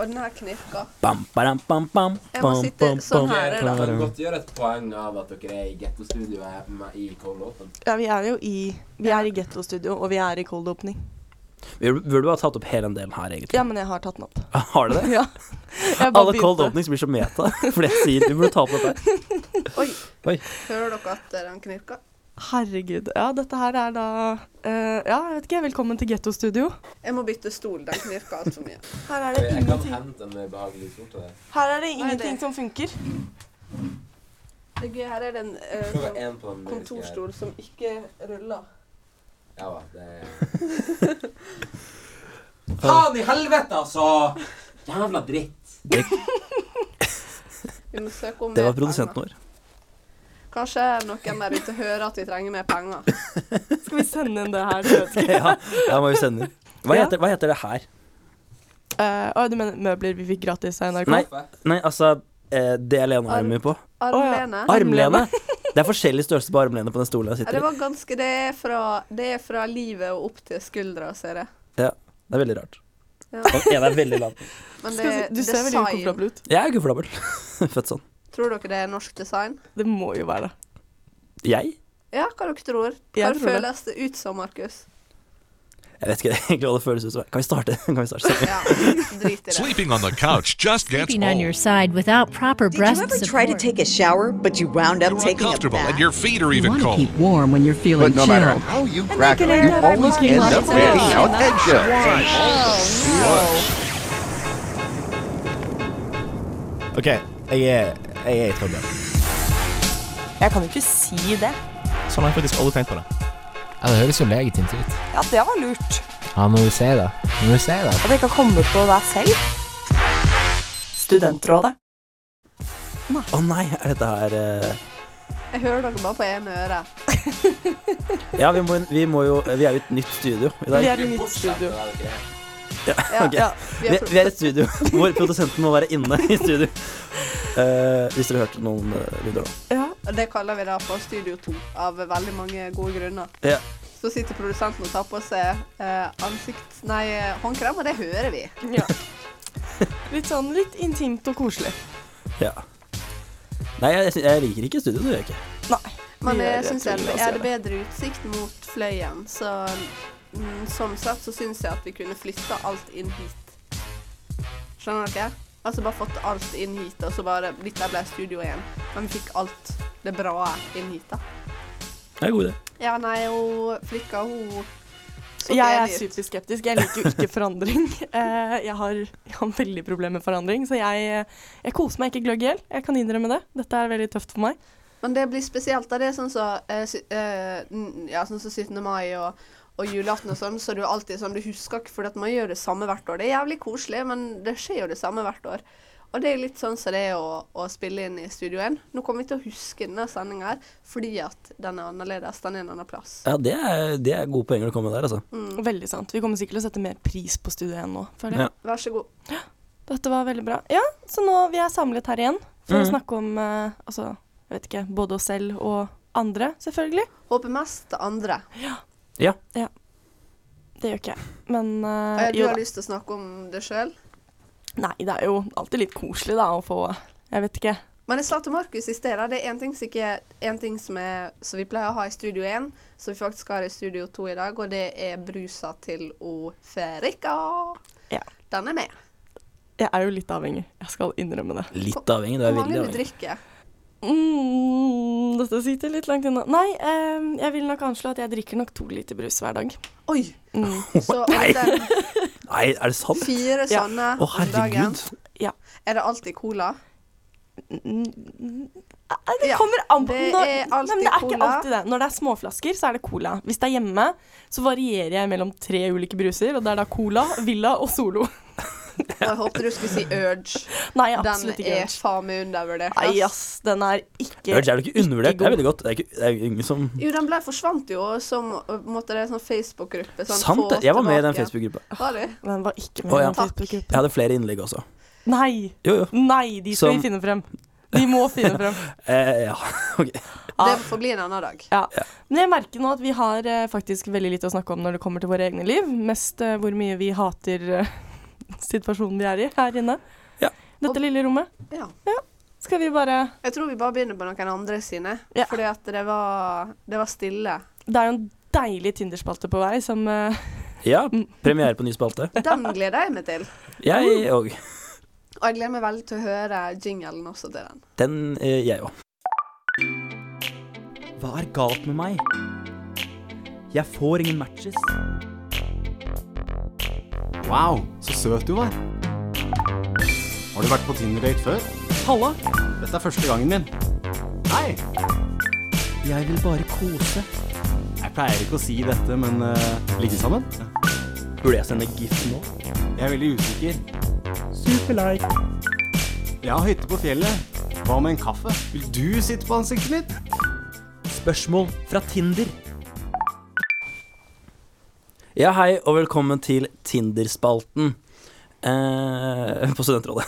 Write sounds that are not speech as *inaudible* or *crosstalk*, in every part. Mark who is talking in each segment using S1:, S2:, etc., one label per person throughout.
S1: Og den her knirker.
S2: Bam, badam, bam, bam,
S1: Jeg må
S2: bam,
S1: sitte
S2: bam,
S1: sånn
S2: bam.
S1: her,
S2: da.
S3: Jeg kan godt gjøre et poeng av at dere er i gettostudioet med- i Cold Open.
S4: Ja, vi er jo i Vi er i gettostudio, og vi er i cold opening.
S2: Vi burde bare tatt opp hele den delen her, egentlig.
S4: Ja, men jeg har tatt den opp.
S2: *laughs*
S4: *laughs*
S2: Har du det?
S4: Ja. Jeg bare
S2: Alle cold
S4: begynte.
S2: openings blir så meta, *laughs* fordi jeg sier vi burde ta opp dette.
S1: Oi.
S2: Oi.
S1: Hører dere at eh, den knirker?
S4: Herregud. Ja, dette her er da eh, Ja, jeg vet ikke. Velkommen til gettostudio.
S1: Jeg må bytte stol. Den knirker altfor mye.
S4: Her er det
S3: Jeg kan
S4: ingenting,
S3: hente en behagelig stol til deg.
S4: her
S1: Hva er
S4: er det
S1: det?
S4: ingenting som funker.
S1: *laughs* Det gøye her er den eh,
S3: Klokka
S1: sånn
S3: én på den skal jeg-
S1: kontorstol som ikke ruller.
S3: Ja da, det er
S5: *laughs*
S3: Faen i helvete, altså! Jævla dritt.
S1: Vi må søke om
S2: Det var
S1: mer
S2: produsenten vår.
S1: penger. Kanskje noen der ute hører at vi trenger mer
S4: *laughs*
S1: penger.
S4: Skal vi sende inn det *laughs* her? til vet ikke.
S2: *laughs* Ja, ja må vi sende. Hva
S4: Ja.
S2: heter, hva heter det her?
S4: Eh, Å, du mener møbler vi fikk gratis av NRK?
S2: Nei. Nei, altså eh, Det er Lena
S1: Arm-
S2: armen min på.
S1: Armlene. *laughs*
S2: Armlene! Det er forskjellig størrelse på armlene på den stolen jeg
S1: Ja, det
S2: sitter i.
S1: var ganske Det er fra, det er fra livet og opp til skuldra, ser jeg.
S2: Ja, det er veldig rart.
S1: Ja.
S2: Den ene er veldig lav.
S1: Men det
S4: Skal vi
S1: er
S4: se- Du ser veldig
S1: design.
S4: ukomfortabel ut.
S2: Jeg er komfortabel. *laughs* Født sånn.
S1: Tror dere det er norsk design?
S4: Det må jo være det.
S2: Jeg?
S1: Ja, hva dere tror? Hva
S4: Jeg tror det.
S1: føles det ut som, Markus?
S2: Jeg vet ikke *laughs* egentlig hva det føles ut som. Kan vi starte? *laughs* Kan vi starte? sendingen?
S1: Ja, drit i det.
S6: Sleeping on the couch just gets
S7: Sleeping on your
S6: old.
S7: side without proper
S8: Did you
S7: breast
S8: ever try
S7: support.
S8: to take a shower, but you wound up
S6: You're
S8: taking a
S6: uncomfortable
S8: bath?
S6: and your feet are
S9: You
S6: even
S9: want to
S6: cold.
S9: keep warm when you're feeling
S10: But no matter
S9: chilled.
S10: how you
S4: they
S10: crack
S4: can
S10: it,
S4: end
S10: you
S4: up
S10: always
S4: looking
S10: end
S4: like
S10: up
S4: that.
S10: getting out eggshells.
S5: OK, jeg er, jeg er i trøbbel.
S4: Jeg kan jo ikke si det.
S5: Sånn har jeg faktisk aldri tenkt på det.
S9: Ja, Det høres jo legitimt ut.
S4: Ja, det var lurt.
S9: Ja, må du si det. Må du si det.
S4: At jeg ikke har kommet på deg selv. Studentrådet.
S2: Å nei, er dette her eh,
S1: Jeg hører dere bare på ene øret.
S4: *laughs*
S2: Ja, vi må, vi må jo Vi er jo i et nytt studio i dag.
S4: Vi er i mitt studio.
S1: Ja,
S2: Ok.
S1: ja.
S2: Vi, vi er i et studio hvor produsenten må være inne i studio. Eh, hvis dere hørte noen eh, lyder nå.
S4: Ja.
S1: Og Det kaller vi da for Studio 2, av veldig mange gode grunner.
S2: Ja.
S1: Så sitter produsenten og tar på seg eh, ansikt... Nei, eh, håndkrem, og det hører vi.
S4: *laughs* ja. Litt sånn litt intimt og koselig.
S2: ja. Nei, jeg, sy- jeg liker ikke studio, det gjør jeg ikke.
S4: Nei.
S1: Men eh,
S4: vi
S1: jeg
S4: er-
S1: syns
S4: tror
S1: jeg
S4: la oss
S1: jeg
S4: gjøre
S1: hadde bedre utsikt mot fløyen, så mm, sånn sett så syns jeg at vi kunne flytta alt inn hit. Skjønner dere? Altså bare fått alt inn hit, og så bare Dette ble studio igjen. Men vi fikk alt det bra inn hit, da.
S2: Det er en god idé.
S1: Ja, nei, hun Frikka, hun så
S4: Jeg er
S1: enig ut.
S4: superskeptisk. Jeg liker jo ikke
S1: *laughs*
S4: forandring. Eh, Jeg har, jeg har veldig problemer med forandring, så jeg, jeg koser meg ikke gløgg i hjel. Jeg kan innrømme det. Dette er veldig tøft for meg.
S1: Men det blir spesielt. da. Det er sånn som eh, sy- eh, n- ja, sånn som 17. mai og, og julaften og sånn, så du alltid sånn Du husker ikke, for at man gjør det samme hvert år. Det er jævlig koselig, men det skjer jo det samme hvert år. Og det er litt sånn som det er å, å spille inn i Studio 1. Nå kommer vi til å huske denne sendinga her fordi at den er annerledes. Den er en annen plass.
S2: Ja, det er, det er gode poenger å komme med der, altså.
S1: Mm.
S4: Veldig sant. Vi kommer sikkert til å sette mer pris på studio enn nå, føler jeg.
S2: Ja.
S1: Vær så god.
S4: Dette var veldig bra. Ja, så nå vi er samlet her igjen for å snakke om eh, altså, jeg vet ikke, både oss selv og andre, selvfølgelig.
S1: Håper mest til andre.
S4: Eh,
S2: ja.
S4: Det gjør ikke jeg. Men eh,
S1: Eh, Du
S4: jo
S1: har
S4: da.
S1: lyst til å snakke om det sjøl?
S4: Nei, det er jo alltid litt koselig da å få Jeg vet ikke.
S1: Men jeg sa til Markus i sted, da, det er en ting, som ikke, en ting som, er, som vi pleier å ha i Studio 1, som vi faktisk har i Studio 2 i dag, og det er brusa til O Ferrika.
S4: Ja.
S1: Den er med.
S4: Jeg er jo litt avhengig. Jeg skal innrømme det.
S2: Litt avhengig, det
S1: Hvor
S2: er
S1: mange
S2: veldig
S1: du
S2: avhengig.
S1: drikker?
S4: Mm, dette sitter litt langt unna. Nei, eh, jeg vil nok anslå at jeg drikker nok to liter brus hver dag.
S1: Oi!
S4: Mm.
S1: Så
S2: *laughs* Nei.
S1: ofte
S2: Nei, er det sant? Å,
S1: *laughs* fire
S4: Ja.
S1: sånne om dagen.
S2: herregud.
S4: Ja.
S1: Er det alltid cola?
S4: Mm, eh, Det
S1: Ja,
S4: kommer an på
S1: det
S4: når-
S1: er
S4: Nei, men
S1: alltid
S4: det er ikke
S1: cola.
S4: alltid det. Når det er småflasker, så er det cola. Hvis det er hjemme, så varierer jeg mellom tre ulike bruser, og det er da cola, Villa og Solo.
S1: Og jeg håpte du skulle si Urge.
S4: *laughs* Nei,
S1: Den
S4: absolutt ikke.
S1: er
S4: Urge.
S1: faen meg undervurdert.
S4: Nei,
S1: ass.
S4: ass, den er ikke
S2: Urge er jo ikke undervurdert. Det
S4: god.
S2: er veldig godt. Det er, ikke, det er ingen som
S1: Jo, den ble forsvant jo, og så må- måtte det en sånn Facebook-gruppe. Sånn,
S2: Sant,
S1: få
S2: det. jeg var med i den
S1: tilbake.
S2: Facebook-gruppa.
S1: Var du?
S4: Den var ikke med
S2: Å,
S4: i
S2: ja.
S4: den Facebook-gruppen.
S2: Jeg hadde flere innlegg også.
S4: Nei,
S2: Jo, jo.
S4: nei, de skal
S2: Som-
S4: vi finne frem. De må finne frem.
S2: Eh,
S1: *laughs*
S2: ja, ok.
S4: Ja.
S1: Det får bli en annen dag.
S4: Ja. Men jeg merker nå at vi har eh, *laughs* faktisk veldig lite å snakke om når det kommer til våre egne liv. Mest eh, hvor mye vi hater eh, situasjonen vi er i her inne.
S2: Ja.
S4: Dette lille rommet.
S1: Ja.
S4: Skal vi bare
S1: Jeg tror vi bare begynner på noen andre sine,
S4: Ja.
S1: fordi at det var, det var stille.
S4: Det er jo en deilig Tinder-spalte på vei som
S2: *laughs*
S4: eh,
S2: Ja, premiere på ny spalte.
S1: Den gleder jeg meg til.
S2: Jeg òg.
S1: Og jeg gleder meg veldig til å høre jinglen også til den.
S2: Den eh, jeg òg. Hva er galt med meg? Jeg får ingen matches.
S6: Wow, så søt du var. Har du vært på Tinder-date før?
S4: Halla!
S6: Dette er første gangen min. Hei!
S2: Jeg vil bare kose.
S6: Jeg pleier ikke å si dette, men eh, ligge sammen?
S2: Burde jeg sende gif nå?
S6: Jeg er veldig usikker.
S2: Superlike.
S6: Jeg har hytte på fjellet. Hva med en kaffe? Vil du sitte på ansiktet mitt?
S2: Spørsmål fra Tinder. Ja, hei, og velkommen til Tinder-spalten eh, på Studentrådet.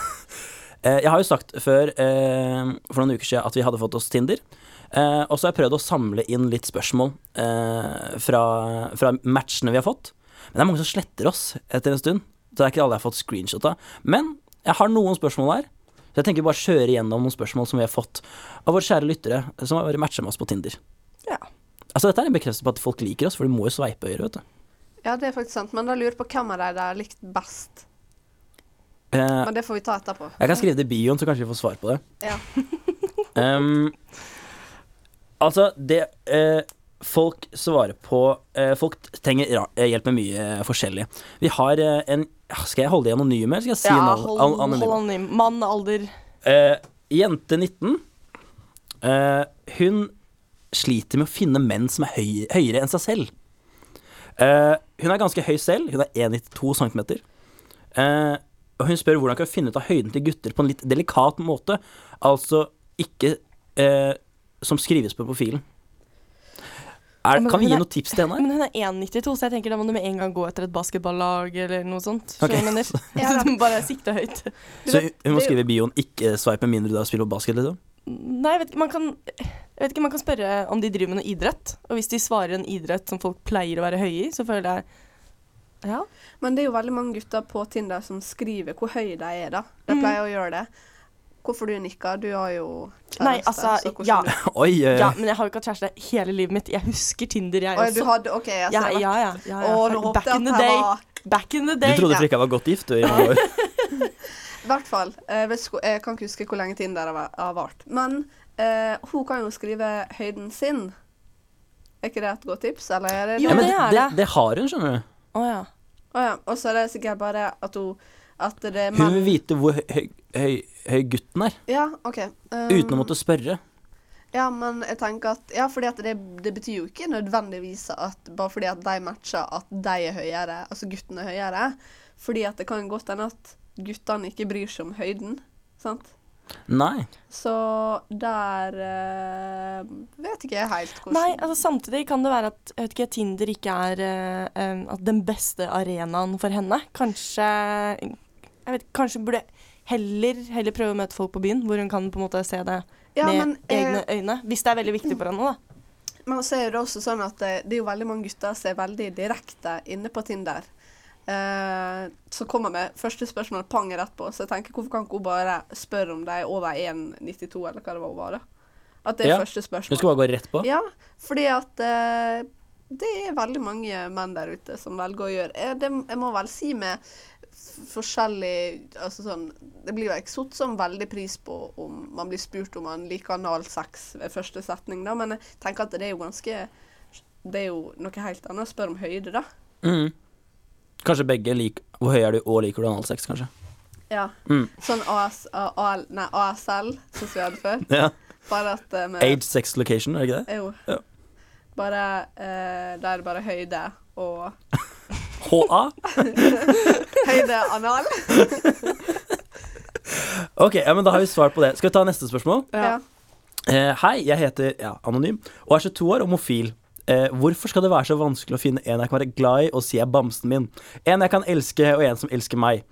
S2: Eh, jeg har jo sagt før, eh, for noen uker siden, at vi hadde fått oss Tinder. Eh, og så har jeg prøvd å samle inn litt spørsmål eh, fra, fra matchene vi har fått. Men det er mange som sletter oss etter en stund, så det er ikke alle jeg har fått screenshot av. Men jeg har noen spørsmål her, så jeg tenker vi bare kjøre gjennom noen spørsmål som vi har fått av våre kjære lyttere som har matcha med oss på Tinder.
S4: Ja.
S2: Altså Dette er en bekreftelse på at folk liker oss, for de må jo sveipe øyre, vet du.
S1: Ja, det er faktisk sant, men da lurer jeg på hvem av de de har likt best.
S2: Eh,
S1: Men det får vi ta etterpå.
S2: jeg kan skrive det i bioen, så kanskje vi får svar på det. *laughs*
S1: Ja.
S2: Ehm, altså, det eh, folk svarer på eh, Folk trenger ra eh, hjelp med mye eh, forskjellig. Vi har eh, en ah, Skal jeg holde de anonyme, eller skal jeg si
S4: ja,
S2: navn-
S4: hold,
S2: an-
S4: hold
S2: anonyme?
S4: anonym. Mann, alder
S2: Eh, jente 19. eh, hun sliter med å finne menn som er høy, høyere enn seg selv. Eh, hun er ganske høy selv. Hun er 1,92 cm. Eh, og hun spør hvordan hun kan finne ut av høyden til gutter på en litt delikat måte. Altså ikke eh, som skrives på profilen. Er,
S4: men
S2: kan vi
S4: hun
S2: gi
S4: er-
S2: noen tips til henne?
S4: *laughs* Men hun er 1,92, så jeg tenker da må du med en gang gå etter et basketballag eller noe sånt.
S2: Ok. *laughs*
S4: Skjønner du hva jeg mener? *laughs*
S1: Ja, da.
S4: Så du må bare sikte høyt.
S2: Så hun- hun må skrive i bioen 'ikke sveip med mindre du har spilt på basket', liksom?
S4: Nei, jeg vet, ikke, man kan, jeg vet ikke, man kan spørre om de driver med noe idrett. Og hvis de svarer en idrett som folk pleier å være høye i, så føler jeg Ja.
S1: Men det er jo veldig mange gutter på Tinder som skriver hvor høy de er, da.
S4: Mm.
S1: De pleier å gjøre det. Hvorfor du nikker? Du har jo kjæreste.
S4: Nei, altså,
S1: så hvordan
S4: ja.
S1: du-
S2: Oi, eh, oi,
S4: ja.
S2: oi.
S4: Men jeg har jo ikke hatt kjæreste hele livet mitt. Jeg husker Tinder, jeg
S1: Å, ja, du
S4: også.
S1: hadde, OK, jeg
S4: ja,
S1: ser
S4: ja,
S1: det.
S4: ja, ja, ja.
S1: Å, nå håpet
S4: Back
S1: jeg
S4: in the
S1: at jeg
S4: day.
S1: var
S4: Back in the
S2: Du
S4: day.
S2: trodde Frikka var godt
S4: *laughs*
S2: gift, du, i mange år.
S1: I hvert fall. Jeg, vet, ikke- jeg kan ikke huske hvor lenge tiden der har væ- har vart. Men eh, hun kan jo skrive høyden sin. Er ikke det et godt tips, eller er det
S4: Jo,
S2: Ja, men
S4: det er
S2: det,
S4: det.
S2: det har hun, skjønner du.
S4: Å ja.
S1: Å ja. Og så er det sikkert bare at hun At det er
S2: Hun vil
S1: menn
S2: vite hvor høy, høy, høy, høy gutten er,
S1: Ja, OK. Um,
S2: uten å måtte spørre.
S1: Ja, men jeg tenker at Ja, fordi at det, det betyr jo ikke nødvendigvis at bare fordi at de matcher at de er høyere, altså gutten er høyere. Fordi at det kan godt hende at guttene ikke bryr seg om høyden, sant?
S2: Nei.
S1: Så der eh, vet ikke jeg helt hvordan
S4: Nei, altså samtidig kan det være at jeg vet ikke, Tinder ikke er eh, em, at den beste arenaen for henne. Kanskje jeg vet, Kanskje hun burde heller, heller prøve å møte folk på byen, hvor hun kan på en måte se det
S1: ja,
S4: med
S1: men, eh,
S4: egne øyne. Hvis det er veldig viktig for henne, da.
S1: Men så er det også sånn at det, det er jo veldig mange gutter som er veldig direkte inne på Tinder. Eh, så kommer med første spørsmål pang rett på, så jeg tenker hvorfor kan ikke hun bare spørre om de er over 1,92 eller hva det var hun var da? At det er
S2: Ja.
S1: første
S2: Hun
S1: spørsmål.
S2: skal bare gå rett på.
S1: Ja, fordi at eh, det er veldig mange menn der ute som velger å gjøre eh, det, Jeg må vel si med f- forskjellig altså sånn, Det blir jo ikke satt sånn veldig pris på om man blir spurt om man liker analsex ved første setning, da, men jeg tenker at det er jo ganske Det er jo noe helt annet å spørre om høyde, da.
S2: Mm. Kanskje begge lik Hvor høy er du, og liker du analsex, kanskje?
S1: Ja.
S2: Mm.
S1: Sånn AS, A- AL, nei, ASL, som vi hadde før.
S2: Ja.
S1: Bare at eh, med
S2: Age, sex, location, er det ikke det?
S1: Jo.
S2: Ja.
S1: Bare eh, Det er bare høyde og
S2: HA?
S1: Høyde anal.
S2: Ok, ja, men da har vi svar på det. Skal vi ta neste spørsmål?
S1: Ja.
S2: Eh, hei, jeg heter ja, Anonym og er 22 år og homofil. Eh, hvorfor skal det være så vanskelig å finne en jeg kan være glad i og si er bamsen min? En jeg kan elske, og en som elsker meg.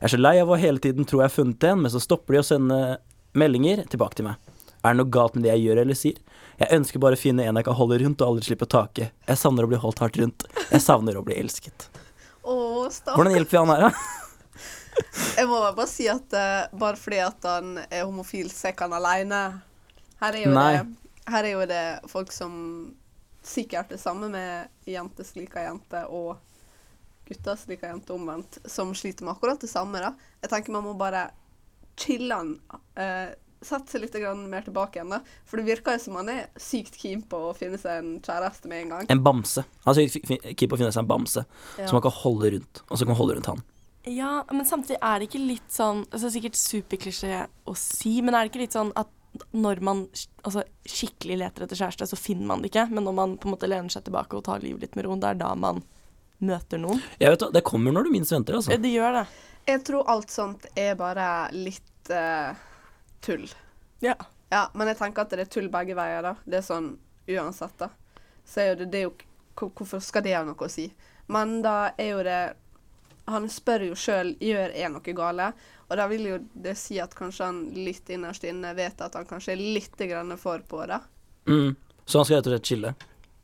S2: Jeg er så lei av å hele tiden tro jeg har funnet en, men så stopper de å sende meldinger tilbake til meg. Er det noe galt med det jeg gjør eller sier? Jeg ønsker bare å finne en jeg kan holde rundt og aldri slippe taket. Jeg savner å bli holdt hardt rundt. Jeg savner å bli elsket.
S1: Å, stakkar.
S2: Hvordan hjelper vi han her, da?
S1: Jeg må bare si at eh, bare fordi at han er homofil, så er ikke han alene. Her er jo
S2: Nei.
S1: det, her er jo det folk som sikkert er samme med jenter som liker jenter, og gutter som liker jenter omvendt, som sliter med akkurat det samme. da. Jeg tenker man må bare chille han. eh, Sette seg litt grann mer tilbake igjen, da. For det virker jo som han er sykt keen på å finne seg en kjæreste med en gang.
S2: En bamse. Han er sikkert fi- fi- keen på å finne seg en bamse som han kan holde rundt. Og så kan han holde rundt han.
S4: Ja, men samtidig er det ikke litt sånn altså Sikkert superklisjé å si, men er det ikke litt sånn at når man sk- altså, skikkelig leter etter kjæreste, så finner man det ikke, men når man på en måte lener seg tilbake og tar livet litt med ro, det er da man møter noen?
S2: Jeg vet, hva, det kommer når du minst venter, altså.
S4: Eh, Det gjør det.
S1: Jeg tror alt sånt er bare litt eh, tull.
S4: Ja.
S1: Ja, men jeg tenker at det er tull begge veier, da. Det er sånn uansett, da. Så er jo det, det er jo hvor- Hvorfor skal det ha noe å si? Men da er jo det Han spør jo sjøl gjør jeg noe gale, og da vil jo det si at kanskje han litt innerst inne vet at han kanskje er litt grann for på det.
S2: Mm. Så han skal rett og slett chille.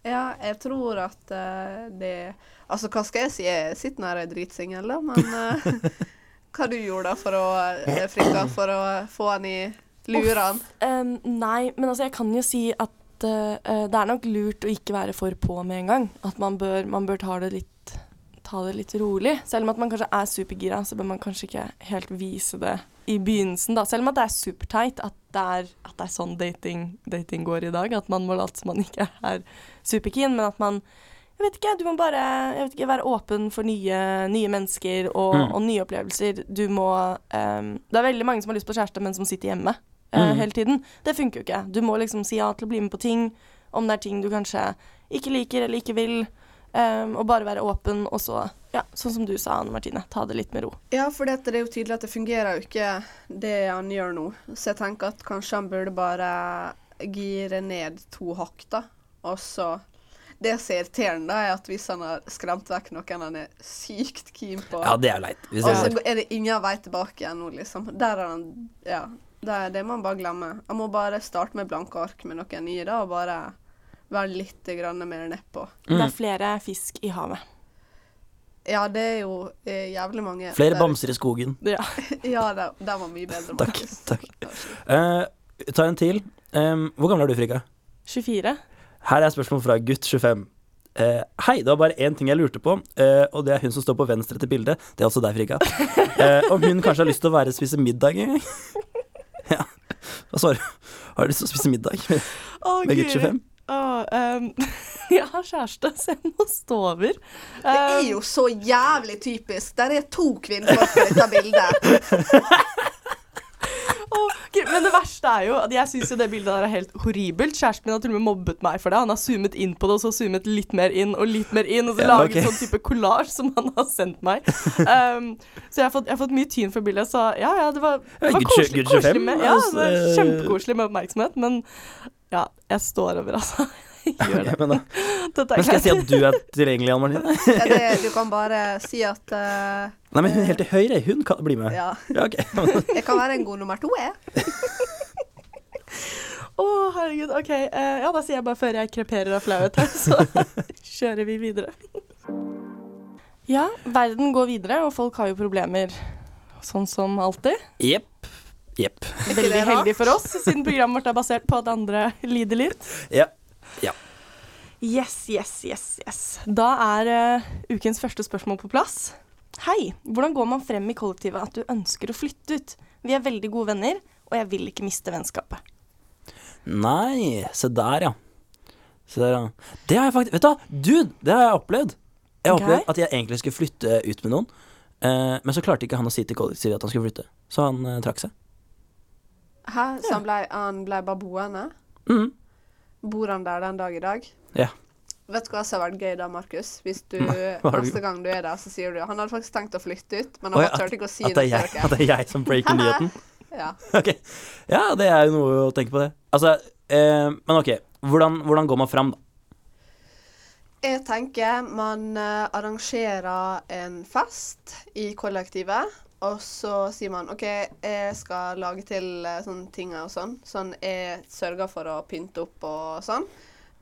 S1: Ja, jeg tror at eh, det Altså, hva skal jeg si? Jeg sitter nær ei dritsingel, da, men eh, *laughs* Hva du gjorde da for å eh, Frida, for å få han i lurene?
S4: Em, nei, men altså jeg kan jo si at eh, eh, det er nok lurt å ikke være for på med en gang. At man bør, man bør ta, det litt, ta det litt rolig. Selv om at man kanskje er supergira, så bør man kanskje ikke helt vise det i begynnelsen. da. Selv om at det er superteit at, det er- at det er sånn dating, dating går i dag. At man må late som man ikke er superkeen, men at man jeg vet ikke, Du må bare jeg vet ikke, være åpen for nye, nye mennesker og,
S2: Mm.
S4: og nye opplevelser. Du må ehm, Det er veldig mange som har lyst på kjæreste, men som sitter hjemme eh,
S2: Mm.
S4: hele tiden. Det funker jo ikke. Du må liksom si ja til å bli med på ting, om det er ting du kanskje ikke liker eller ikke vil. ehm, og bare være åpen, og så, ja, sånn som du sa, Anne Martine, ta det litt med ro.
S1: Ja, for det er jo tydelig at det fungerer jo ikke det han gjør nå. Så jeg tenker at kanskje han burde bare gire ned to hakk, da. Og så Det som er irriterende, da, er at hvis han har skremt vekk noen han er sykt keen på,
S2: Ja, det er jo leit. Hvis
S1: og
S2: det
S1: så
S2: er leit.
S1: går- er det ingen vei tilbake igjen nå, liksom. Der er han Ja. Det, er det må han bare glemme. Han må bare starte med blanke ark med noen nye, da, og bare være litt grann mer nedpå.
S2: Mm.
S4: Det er flere fisk i havet.
S1: Ja, det er jo eh, jævlig mange
S2: Flere
S1: der-
S2: bamser i skogen.
S4: Ja.
S1: *laughs*
S4: *laughs*
S1: Ja, der, der var mye bedre.
S2: Takk,
S1: Markus.
S2: takk. Eh, ta en til. Em, hvor gammel er du, Frika?
S4: 24.
S2: Her er spørsmål fra gutt 25. Eh, hei, det var bare én ting jeg lurte på, eh, og det er hun som står på venstre til bildet. Det er altså deg, *laughs* Frika. Eh, om hun kanskje har lyst til å være spise middag *laughs* en gang? ja. Hva svarer du? Har du lyst til å spise middag med,
S4: Å,
S2: med
S4: Guri.
S2: gutt 25?
S4: Å, ehm, *laughs* jeg har kjæreste, så jeg må stå over. Ehm,
S1: Det er jo så jævlig typisk. Der er to kvinner på dette bildet.
S4: Åh, ok, men det verste er jo at jeg syns jo det bildet der er helt horribelt. Kjæresten min har til og med mobbet meg for det. Han har zoomet inn på det, og så zoomet litt mer inn og litt mer inn, og så
S2: Ja,
S4: laget
S2: ok.
S4: sånn type kollasj som han har sendt meg. Um, så jeg har, fått, jeg har fått mye tyn for bildet, så ja ja, det var,
S2: Ja,
S4: det var
S2: Gud,
S4: koselig,
S2: Gud, 25,
S4: koselig med Ja,
S2: altså,
S4: det var
S2: eh.
S4: kjempekoselig med oppmerksomhet, men ja, jeg står over, altså. *laughs* Jeg
S2: *laughs*
S4: Gjør
S2: Ok,
S4: det.
S2: men, da,
S4: Dette
S2: men
S4: er
S2: skal jeg si
S4: greit.
S2: at du er tilgjengelig, Anne Martine?
S1: Ja, det, du kan bare si at eh,
S2: Nei, men hun er helt til høyre. Hun kan bli med.
S1: Ja,
S2: Ja, *laughs* ok. Men,
S1: jeg kan være en god nummer to, jeg.
S4: Å, herregud. OK. eh, ja, da sier jeg bare før jeg kreperer av flauhet her, så *laughs* kjører vi videre. Ja, verden går videre, og folk har jo problemer. Sånn som alltid.
S2: Jepp. Jepp.
S4: Veldig heldig for oss, siden programmet vårt er basert på at andre lider litt.
S2: Ja.
S4: Yes, yes, yes, yes. Da er eh, ukens første spørsmål på plass. Hei, hvordan går man frem i kollektivet at du ønsker å flytte ut? Vi er veldig gode venner, og jeg vil ikke miste vennskapet.
S2: Nei, se der, ja. Se der, ja. Det har jeg faktisk Vet du hva, dude, det har jeg opplevd. Jeg har
S4: Ok.
S2: opplevd at jeg egentlig skulle flytte ut med noen, eh, men så klarte ikke han å si til kollektivet at han skulle flytte, så han eh, trakk seg.
S1: Hæ? Så han ble, han ble bare boende?
S2: Mhm.
S1: Bor han der den dag i dag?
S2: Ja.
S1: Vet du hva som hadde vært gøy da, Markus? Hvis du
S2: hva har du-
S1: neste gang du er der, så sier du Han hadde faktisk tenkt å flytte ut, men han
S2: Oi,
S1: bare
S2: at,
S1: turte ikke å si
S2: at, det er
S1: det
S2: jeg,
S1: til
S2: at
S1: dere.
S2: det er jeg som
S1: *laughs*
S2: breaker nyheten?
S1: Ja.
S2: Ok. Ja, det er jo noe å tenke på, det. Altså, eh, men ok. Hvordan, hvordan går man fram, da?
S1: Jeg tenker man eh, arrangerer en fest i kollektivet, og så sier man OK, jeg skal lage til eh, sånne ting og sånn. Sånn jeg sørger for å pynte opp og sånn.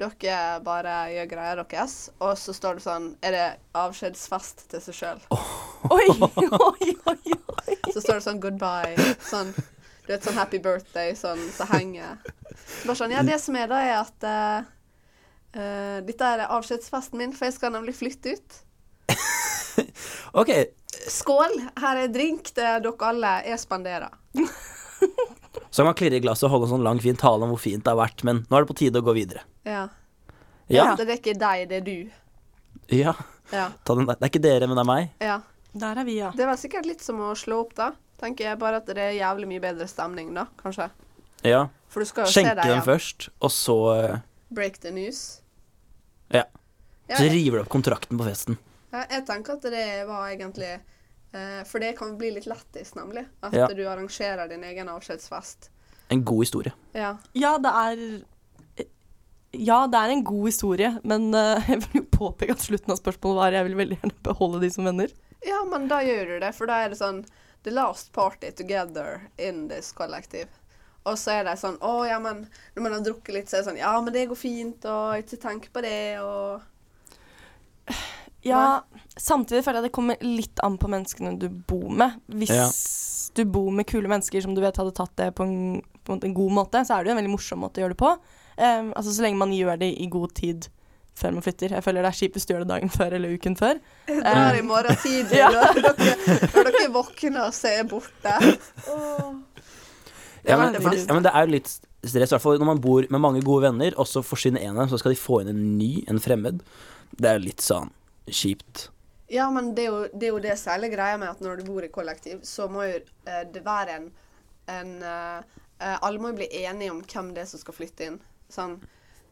S1: Dere bare gjør greia deres, og så står det sånn Er det avskjedsfest til seg sjøl?
S4: Oi, oi, oi, oi.
S1: Så står det sånn goodbye. Sånn Du vet, sånn happy birthday, sånn som henger. Så bare sånn Ja, det som er, da, er at eh, eh, Dette er avskjedsfesten min, for jeg skal nemlig flytte ut.
S2: OK.
S1: Skål! Her er drink til dere alle. Jeg spanderer.
S2: Så kan man klirre i glasset og holde en sånn lang, fin tale om hvor fint det har vært, men nå er det på tide å gå videre.
S1: Ja.
S2: Ja.
S1: Det er ikke deg, det er du.
S2: ja.
S1: Ja.
S2: Ta den der. Det er ikke dere, men det er meg.
S1: ja.
S4: Der er vi, ja.
S1: Det var sikkert litt som å slå opp, da. Tenker jeg bare at det er jævlig mye bedre stemning, da, kanskje.
S2: Ja.
S1: For du skal jo se
S2: Skjenke
S1: deg
S2: dem
S1: igjen.
S2: først, og så eh,
S1: Break the news.
S2: Ja.
S1: Ja,
S2: Så
S1: jeg,
S2: river du opp kontrakten på festen.
S1: ja, jeg tenker at det var egentlig eh, For det kan bli litt lættis, nemlig. At
S2: Ja.
S1: du arrangerer din egen avskjedsfest.
S2: En god historie.
S1: Ja.
S4: Ja, det er ja, det er en god historie, men eh, *laughs* jeg vil jo påpeke at slutten av spørsmålet var jeg vil veldig gjerne beholde de som venner.
S1: ja, men da gjør du det, for da er det sånn The last party together in this collective. Og så er det sånn Å, ja, men når man har drukket litt, så er det sånn Ja, men det går fint, og ikke tenk på det, og
S4: Ja, samtidig føler jeg det kommer litt an på menneskene du bor med. Hvis
S2: Ja.
S4: du bor med kule mennesker som du vet hadde tatt det på en, på en måte en god måte, så er det jo en veldig morsom måte å gjøre det på. Eh, altså Så lenge man gjør det i god tid før man flytter. Jeg føler det er kjipt hvis du gjør det dagen før eller uken før.
S1: Drar i morgen tidlig,
S4: Ja.
S1: når, dere, når dere våkner og ser borte.
S2: Ja,
S1: var
S2: men,
S1: det
S2: fordi,
S1: beste.
S2: ja, men det er jo litt stress, i hvert fall når man bor med mange gode venner, og så forsvinner en av dem, så skal de få inn en ny, en fremmed. Det er jo litt sånn kjipt.
S1: Ja, men det er jo det, er jo det særlig greia med at når du bor i kollektiv, så må jo eh, det være en, en eh, eh, Alle må jo bli enige om hvem det er som skal flytte inn. Sånn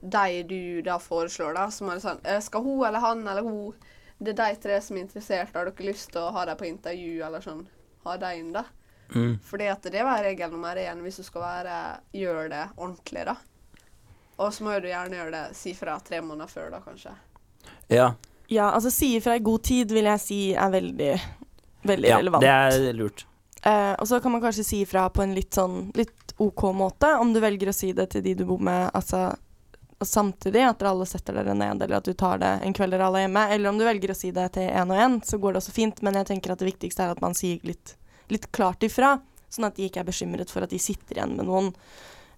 S1: de du da foreslår, da, så må det sånn eh, Skal hun eller han eller hun Det er de tre som er interessert, har dere lyst til å ha dem på intervju, eller sånn? Ha dem inn, da.
S2: Mm.
S1: Fordi at det var regel nummer én hvis du skal være, gjøre det ordentlig, da. Og så må jo du gjerne gjøre det si fra tre måneder før, da, kanskje.
S2: Ja,
S4: Ja, altså si ifra i god tid vil jeg si er veldig, veldig
S2: ja
S4: relevant.
S2: det er lurt.
S4: Eh, og så kan man kanskje si ifra på en litt sånn litt OK måte, om du velger å si det til de du bor med, altså og samtidig at dere alle setter dere ned, eller at du tar det en kveld dere alle er hjemme, eller om du velger å si det til én og én, så går det også fint, men jeg tenker at det viktigste er at man sier litt, litt klart ifra, sånn at de ikke er bekymret for at de sitter igjen med noen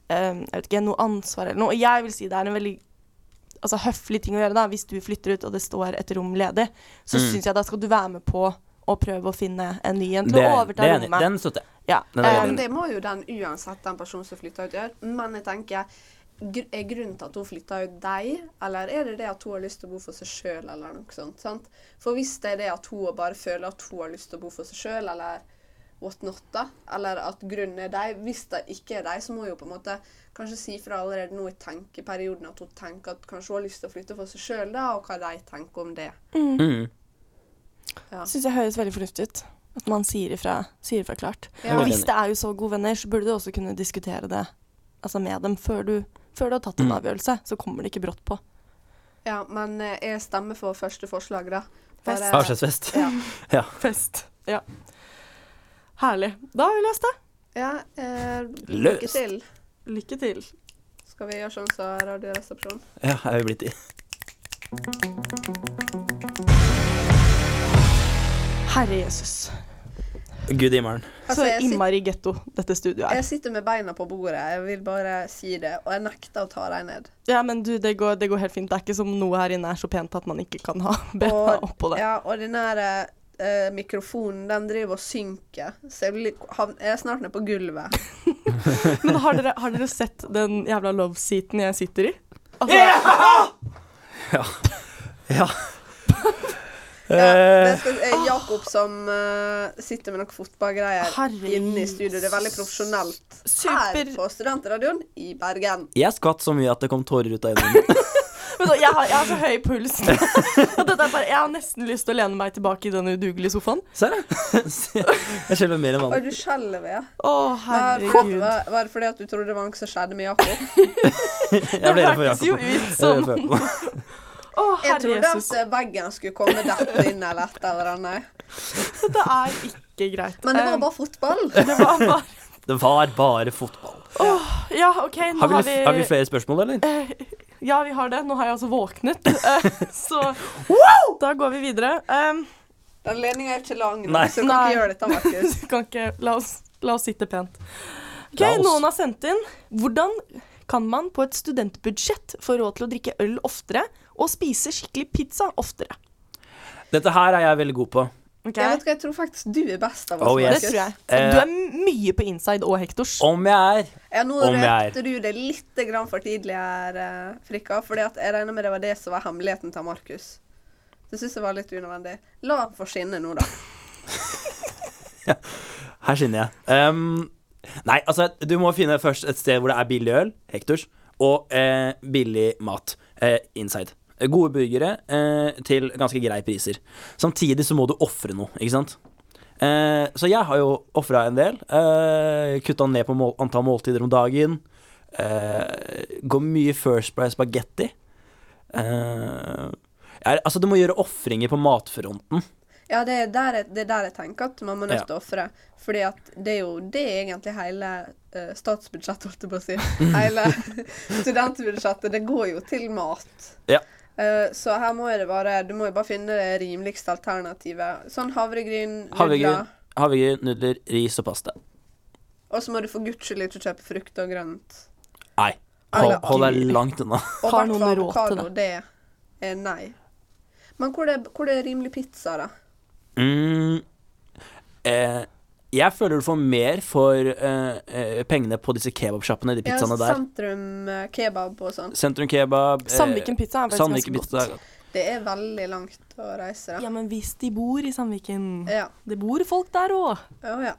S4: eh, jeg vet ikke, noe ansvar eller noe. Og jeg vil si det er en veldig altså, høflig ting å gjøre, da, hvis du flytter ut og det står et rom ledig,
S2: Mm.
S4: så synes syns jeg da skal du være med på å prøve å finne en ny en til
S2: Det
S4: å
S2: er, det
S4: overta
S2: er enig.
S4: rommet.
S2: Den støtter jeg.
S4: Ja.
S2: Den er jeg
S4: ehm,
S2: enig
S1: Men Eh, det må jo den uansett den personen som flytter ut, gjøre. Men jeg tenker gr Er grunnen til at hun flytta ut deg, eller er det det at hun har lyst til å bo for seg sjøl, eller noe sånt? sant? For hvis det er det at hun bare føler at hun har lyst til å bo for seg sjøl, eller what not, da, eller at grunnen er deg Hvis det ikke er deg, så må hun jo på en måte kanskje si fra allerede nå i tenkeperioden at hun tenker at kanskje hun har lyst til å flytte for seg sjøl, da, og hva de tenker om det.
S2: Mm.
S4: syns jeg høres veldig fornuftig ut. At man sier ifra, sier ifra klart.
S1: Ja.
S4: Og hvis det er jo så gode venner, så burde du også kunne diskutere det altså med dem før du, før du har
S2: Mm.
S4: tatt en avgjørelse. Så kommer det ikke brått på.
S1: Ja, men eh, jeg stemmer for første forslag, da.
S4: Fest.
S2: Avskjedsfest.
S1: ja.
S4: Fest. Ja. Herlig. Da har vi løst det.
S1: Ja, eh, lykke
S2: Løst.
S1: til.
S4: Lykke til.
S1: Skal vi gjøre sånn som så Radioresepsjonen?
S2: Ja, er vi blitt i.
S4: Herre Jesus.
S2: Gud i morgen.
S1: Altså,
S4: Så
S1: jeg, sit,
S4: innmari getto dette studioet
S1: jeg
S4: er.
S1: sitter med beina på bordet, jeg vil bare si det, og jeg nekter å ta deg ned.
S4: Ja, men du, det går, det går helt fint. Det er ikke som noe her inne er så pent at man ikke kan ha *laughs* bena
S1: Og,
S4: oppå det.
S1: ja, og den her eh, mikrofonen, den driver og synker, så jeg, blir, litt- han- jeg er snart nede på gulvet.
S4: Men har dere, har dere sett den jævla love-seaten jeg sitter i? Altså,
S2: Ja.
S1: Ja, det
S2: Eh,
S1: skal,
S4: Ah.
S1: eh, Jakob som eh, sitter med noen fotballgreier
S4: Herre
S1: inne i studio, det er veldig profesjonelt. Her
S4: Super.
S1: på Studentradioen i Bergen.
S2: jeg skvatt så mye at det kom tårer ut av øynene. mine.
S4: Men nå, jeg, har, jeg har så høy puls. *laughs* Og dette er bare, jeg har nesten lyst til å lene meg tilbake i den udugelige sofaen.
S2: Ser du? Jeg skjelver mer enn
S1: Og
S2: vanlig.
S1: du skjelver, ja.
S4: Å,
S1: Var
S4: herregud.
S1: var- var det fordi at du trodde det var noe som skjedde med
S4: *laughs*
S1: Jakob?
S2: Jeg ble redd for
S4: hørtes jo
S2: Jakob.
S4: ut
S2: Jeg ble
S4: som-
S2: redd for Jakob.
S4: Å,
S1: Jeg
S4: herre
S1: trodde
S4: Jesus.
S1: at veggen skulle komme dette inn eller et eller annet.
S4: Dette er ikke greit.
S1: Men det
S4: Eh,
S1: var bare fotball. *laughs*
S4: det var bare-
S2: Det var bare fotball.
S4: Ja, OK, nå
S2: Har vi,
S4: har
S2: har vi
S4: vi
S2: flere spørsmål, eller?
S4: Ja, vi har det. Nå har jeg altså våknet. *laughs* Eh, Så da går vi videre. Um,
S1: Den ledninga er ikke lang, nok,
S2: Nei.
S1: så du kan
S4: Nei.
S1: ikke gjøre dette, *laughs* Markus.
S4: *laughs* du kan ikke La oss, la oss sitte pent. Ok,
S2: La oss.
S4: Noen har sendt inn Hvordan kan man på et studentbudsjett få råd til å drikke øl oftere og spise skikkelig pizza oftere?
S2: Dette her er jeg veldig god på.
S4: Ok?
S1: Jeg vet hva, jeg tror faktisk du er best av oss,
S2: Oh,
S4: Det
S2: yes.
S4: tror jeg.
S2: Eh,
S4: Du er mye på inside og Hektors.
S2: Om jeg er
S1: Ja, nå
S2: Om jeg er.
S1: røpte du det litt grann for tidlig her, eh, Frikka. For jeg regner med det var det som var hemmeligheten til Markus. Det syns jeg var litt unødvendig. La han få skinne nå, da.
S2: Her skinner jeg. Ehm, nei, altså, du må finne først et sted hvor det er billig øl, Hektors, og eh, billig mat, eh, Inside. Gode burgere eh, til ganske greie priser. Samtidig så må du ofre noe, ikke sant? Eh, så jeg har jo ofra en del. Eh, Kutta ned på mål antall måltider om dagen. Eh, går mye First Price spagetti. Eh, jeg er, altså, du må gjøre ofringer på matfronten.
S1: Ja, det er der jeg, det er der jeg tenker at man må nødt
S2: Ja.
S1: til å ofre. Fordi at det er jo det er egentlig hele eh, statsbudsjettet, holdt jeg på å
S2: *laughs*
S1: si. Hele *laughs* studentbudsjettet. Det går jo til mat.
S2: Ja.
S1: Eh, så her må jo det bare Du må jo bare finne det rimeligste alternativet. Sånn havregryn,
S2: Havregryn,
S1: nudler.
S2: havregryn, nudler, ris og pasta.
S1: Og så må du for guds skyld ikke kjøpe frukt og grønt.
S2: Nei. Hold,
S1: Eller-
S2: hold deg langt unna.
S1: Og
S4: Har
S1: hvert
S4: noen
S1: fall
S4: råd til
S1: avokado, Det er nei. Men hvor er, hvor er rimelig pizza, da?
S2: Mm, eh, jeg føler du får mer for eh, eh, pengene på disse kebabsjappene, de pizzaene
S1: ja,
S2: der.
S1: sentrum eh, kebab og sånn.
S2: Sentrum kebab. eh,
S4: Sandviken pizza er faktisk
S2: Sandviken
S4: ganske
S2: pizza er
S4: godt.
S2: godt.
S1: Det er veldig langt å reise, da.
S4: Ja, men hvis de bor i Sandviken
S1: Ja.
S4: Det bor folk der òg.
S1: Å ja.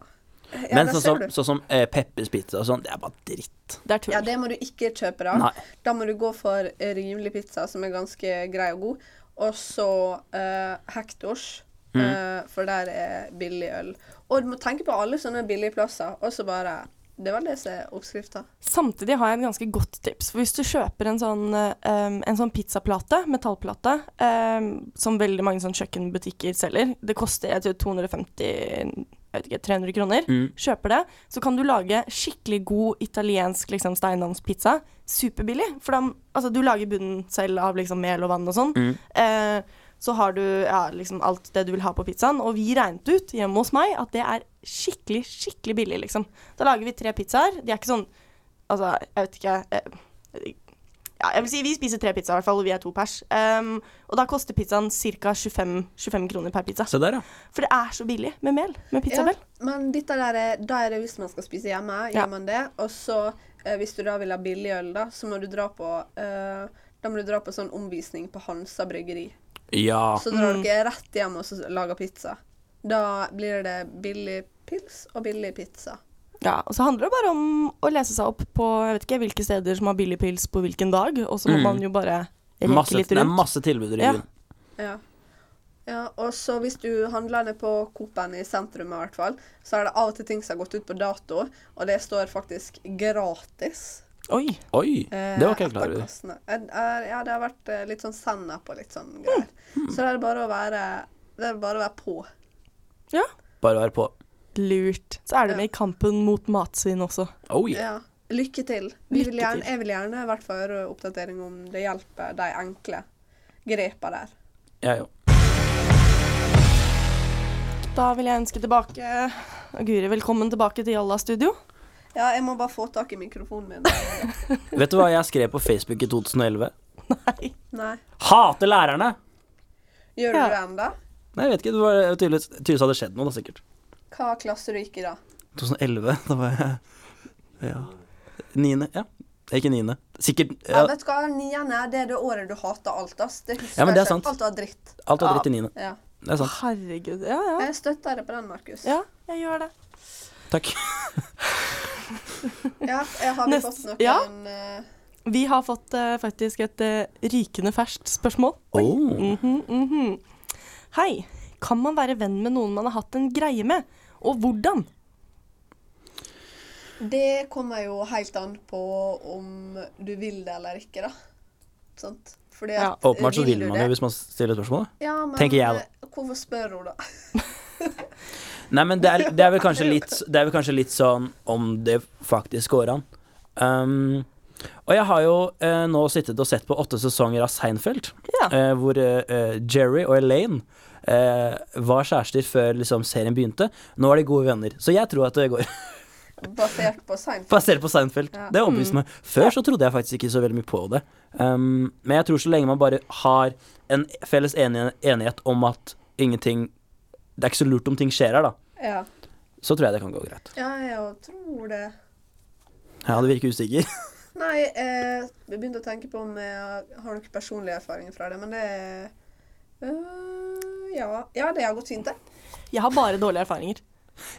S1: Ja,
S2: Men
S1: der
S2: sånn
S1: ser
S2: som,
S1: du.
S2: sånn som eh, Peppers pizza og sånn, det er bare dritt.
S4: Det er tull.
S1: Ja, det må du ikke kjøpe, da.
S2: Nei.
S1: Da må du gå for eh, rimelig pizza, som er ganske grei og god. Og så eh, Hectors, eh, for der er billig øl. Og du må tenke på alle sånne billige plasser, og så bare Det var det som er oppskrifta.
S4: Samtidig har jeg et ganske godt tips. For hvis du kjøper en sånn, eh, um, en sånn pizzaplate, metallplate, um, som veldig mange sånn kjøkkenbutikker selger Det koster jeg tror 250 jeg vet ikke, 300 kroner. Kjøper det, så kan du lage skikkelig god italiensk liksom, steinovnspizza. Superbillig. For da, altså, du lager bunnen selv av liksom, mel og vann og sånn. Eh, så har du ja, liksom, alt det du vil ha på pizzaen. Og vi regnet ut hjemme hos meg at det er skikkelig, skikkelig billig, liksom. Da lager vi tre pizzaer. De er ikke sånn Altså, jeg vet ikke eh, ja, Jeg vil si vi spiser tre pizzaer, i hvert fall, og vi er to pers. Ehm, og da koster pizzaen ca. 25, 25 kroner per pizza.
S2: Se der, ja.
S4: For det er så billig med mel. Med pizzamel.
S1: men dette der er, da er det hvis man skal spise hjemme,
S4: Ja.
S1: gjør man det. Og så, eh, hvis du da vil ha billig øl, da, så må du dra på eh, da må du dra på sånn omvisning på Hansa bryggeri.
S2: Ja.
S1: Så
S4: Mm.
S1: drar dere rett hjem og så lager pizza. Da blir det billig pils og billig pizza.
S4: Ja. og så handler det bare om å lese seg opp på jeg vet ikke, hvilke steder som har billig pils på hvilken dag, og så må man jo bare reke
S2: Mm. Masse,
S4: litt
S2: det er
S4: rundt.
S2: masse tilbud i
S4: Ja.
S2: ryggen.
S1: Ja. ja og så hvis du handler ned på Coop-en i sentrum, i hvert fall, så er det av og til ting som har gått ut på dato, og det står faktisk gratis.
S4: Oi.
S2: Oi,
S1: Eh,
S2: det var ikke jeg klar
S1: etter
S2: over.
S1: kassene. Eh, eh, Ja, det har vært eh, litt sånn sennep og litt sånn greier.
S4: Mm.
S1: Så det er bare å være det er bare å være på.
S4: Ja.
S2: Bare vær på.
S4: Lurt. Så er det med i kampen mot matsvinn også.
S2: Oh yeah.
S1: Ja. Lykke til. Vi
S4: Lykke
S1: vil gjerne,
S4: til.
S1: jeg vil gjerne i hvert fall høre oppdatering om det hjelper de enkle grepa der.
S2: Jeg òg.
S4: Da vil jeg ønske tilbake Guri, velkommen tilbake til Jalla studio. *laughs*
S1: Ja, jeg må bare få tak i mikrofonen min.
S2: Vet du hva jeg skrev på Facebook i 2011?
S4: Nei.
S1: Nei.
S2: Hater lærerne!
S1: Gjør
S4: Ja.
S1: du det ennå?
S2: Nei, jeg vet ikke. Det var tydeligvis, tydeligvis hadde skjedd noe, da, sikkert.
S1: Hva klasse du gikk i da?
S2: 2011, da var jeg ja. Niende, ja. Ikke niende. Sikkert
S1: Ja,
S2: ja,
S1: vet du hva, niende det er det året du hater alt, ass. Det husker
S2: Ja, men det er
S1: jeg
S2: sant.
S1: selv. Alt var dritt.
S2: Alt var dritt i niende.
S1: Ja.
S2: Det er sant.
S4: Herregud. Ja, ja.
S1: Jeg støtter deg på den, Markus.
S4: Ja, jeg gjør det.
S2: Takk.
S1: Ja, jeg har vi
S4: Neste-
S1: fått noen
S4: ja.
S1: eh,
S4: Vi har fått eh, faktisk et eh, rykende ferskt spørsmål.
S2: Oh.
S4: Mhm, mhm. Hei. Kan man være venn med noen man har hatt en greie med? Og hvordan?
S1: Det kommer jo helt an på om du vil det eller ikke, da. Sant? Fordi at,
S4: Ja,
S1: eh,
S2: Åpenbart så vil
S1: du
S2: man jo hvis man stiller spørsmål. da.
S1: Ja, men
S2: tenker jeg da.
S1: eh, Hvorfor spør hun, da? *laughs*
S2: Nei, men det er, det er vel kanskje litt Det er vel kanskje litt sånn om det faktisk går an. Um, Og jeg har jo eh, nå sittet og sett på åtte sesonger av Seinfeld,
S4: Ja.
S2: eh, hvor eh, eh, Jerry og Elaine eh, var kjærester før liksom, serien begynte. Nå er de gode venner, så jeg tror at det går
S1: Basert på Seinfeld.
S2: basert på Seinfeld.
S1: Ja.
S2: Det overbeviste meg. Før så trodde jeg faktisk ikke så veldig mye på det. Um, men jeg tror så lenge man bare har en felles eni- enighet om at ingenting Det er ikke så lurt om ting skjer her, da.
S1: Ja.
S2: Så tror jeg det kan gå greit.
S1: ja, jeg tror det.
S2: Ja, det virker usikker. *laughs*
S1: Nei, eh, jeg begynte å tenke på om jeg har noen personlige erfaringer fra det, men det øh, ja. ja, det har gått fint, det.
S4: Jeg har bare dårlige erfaringer.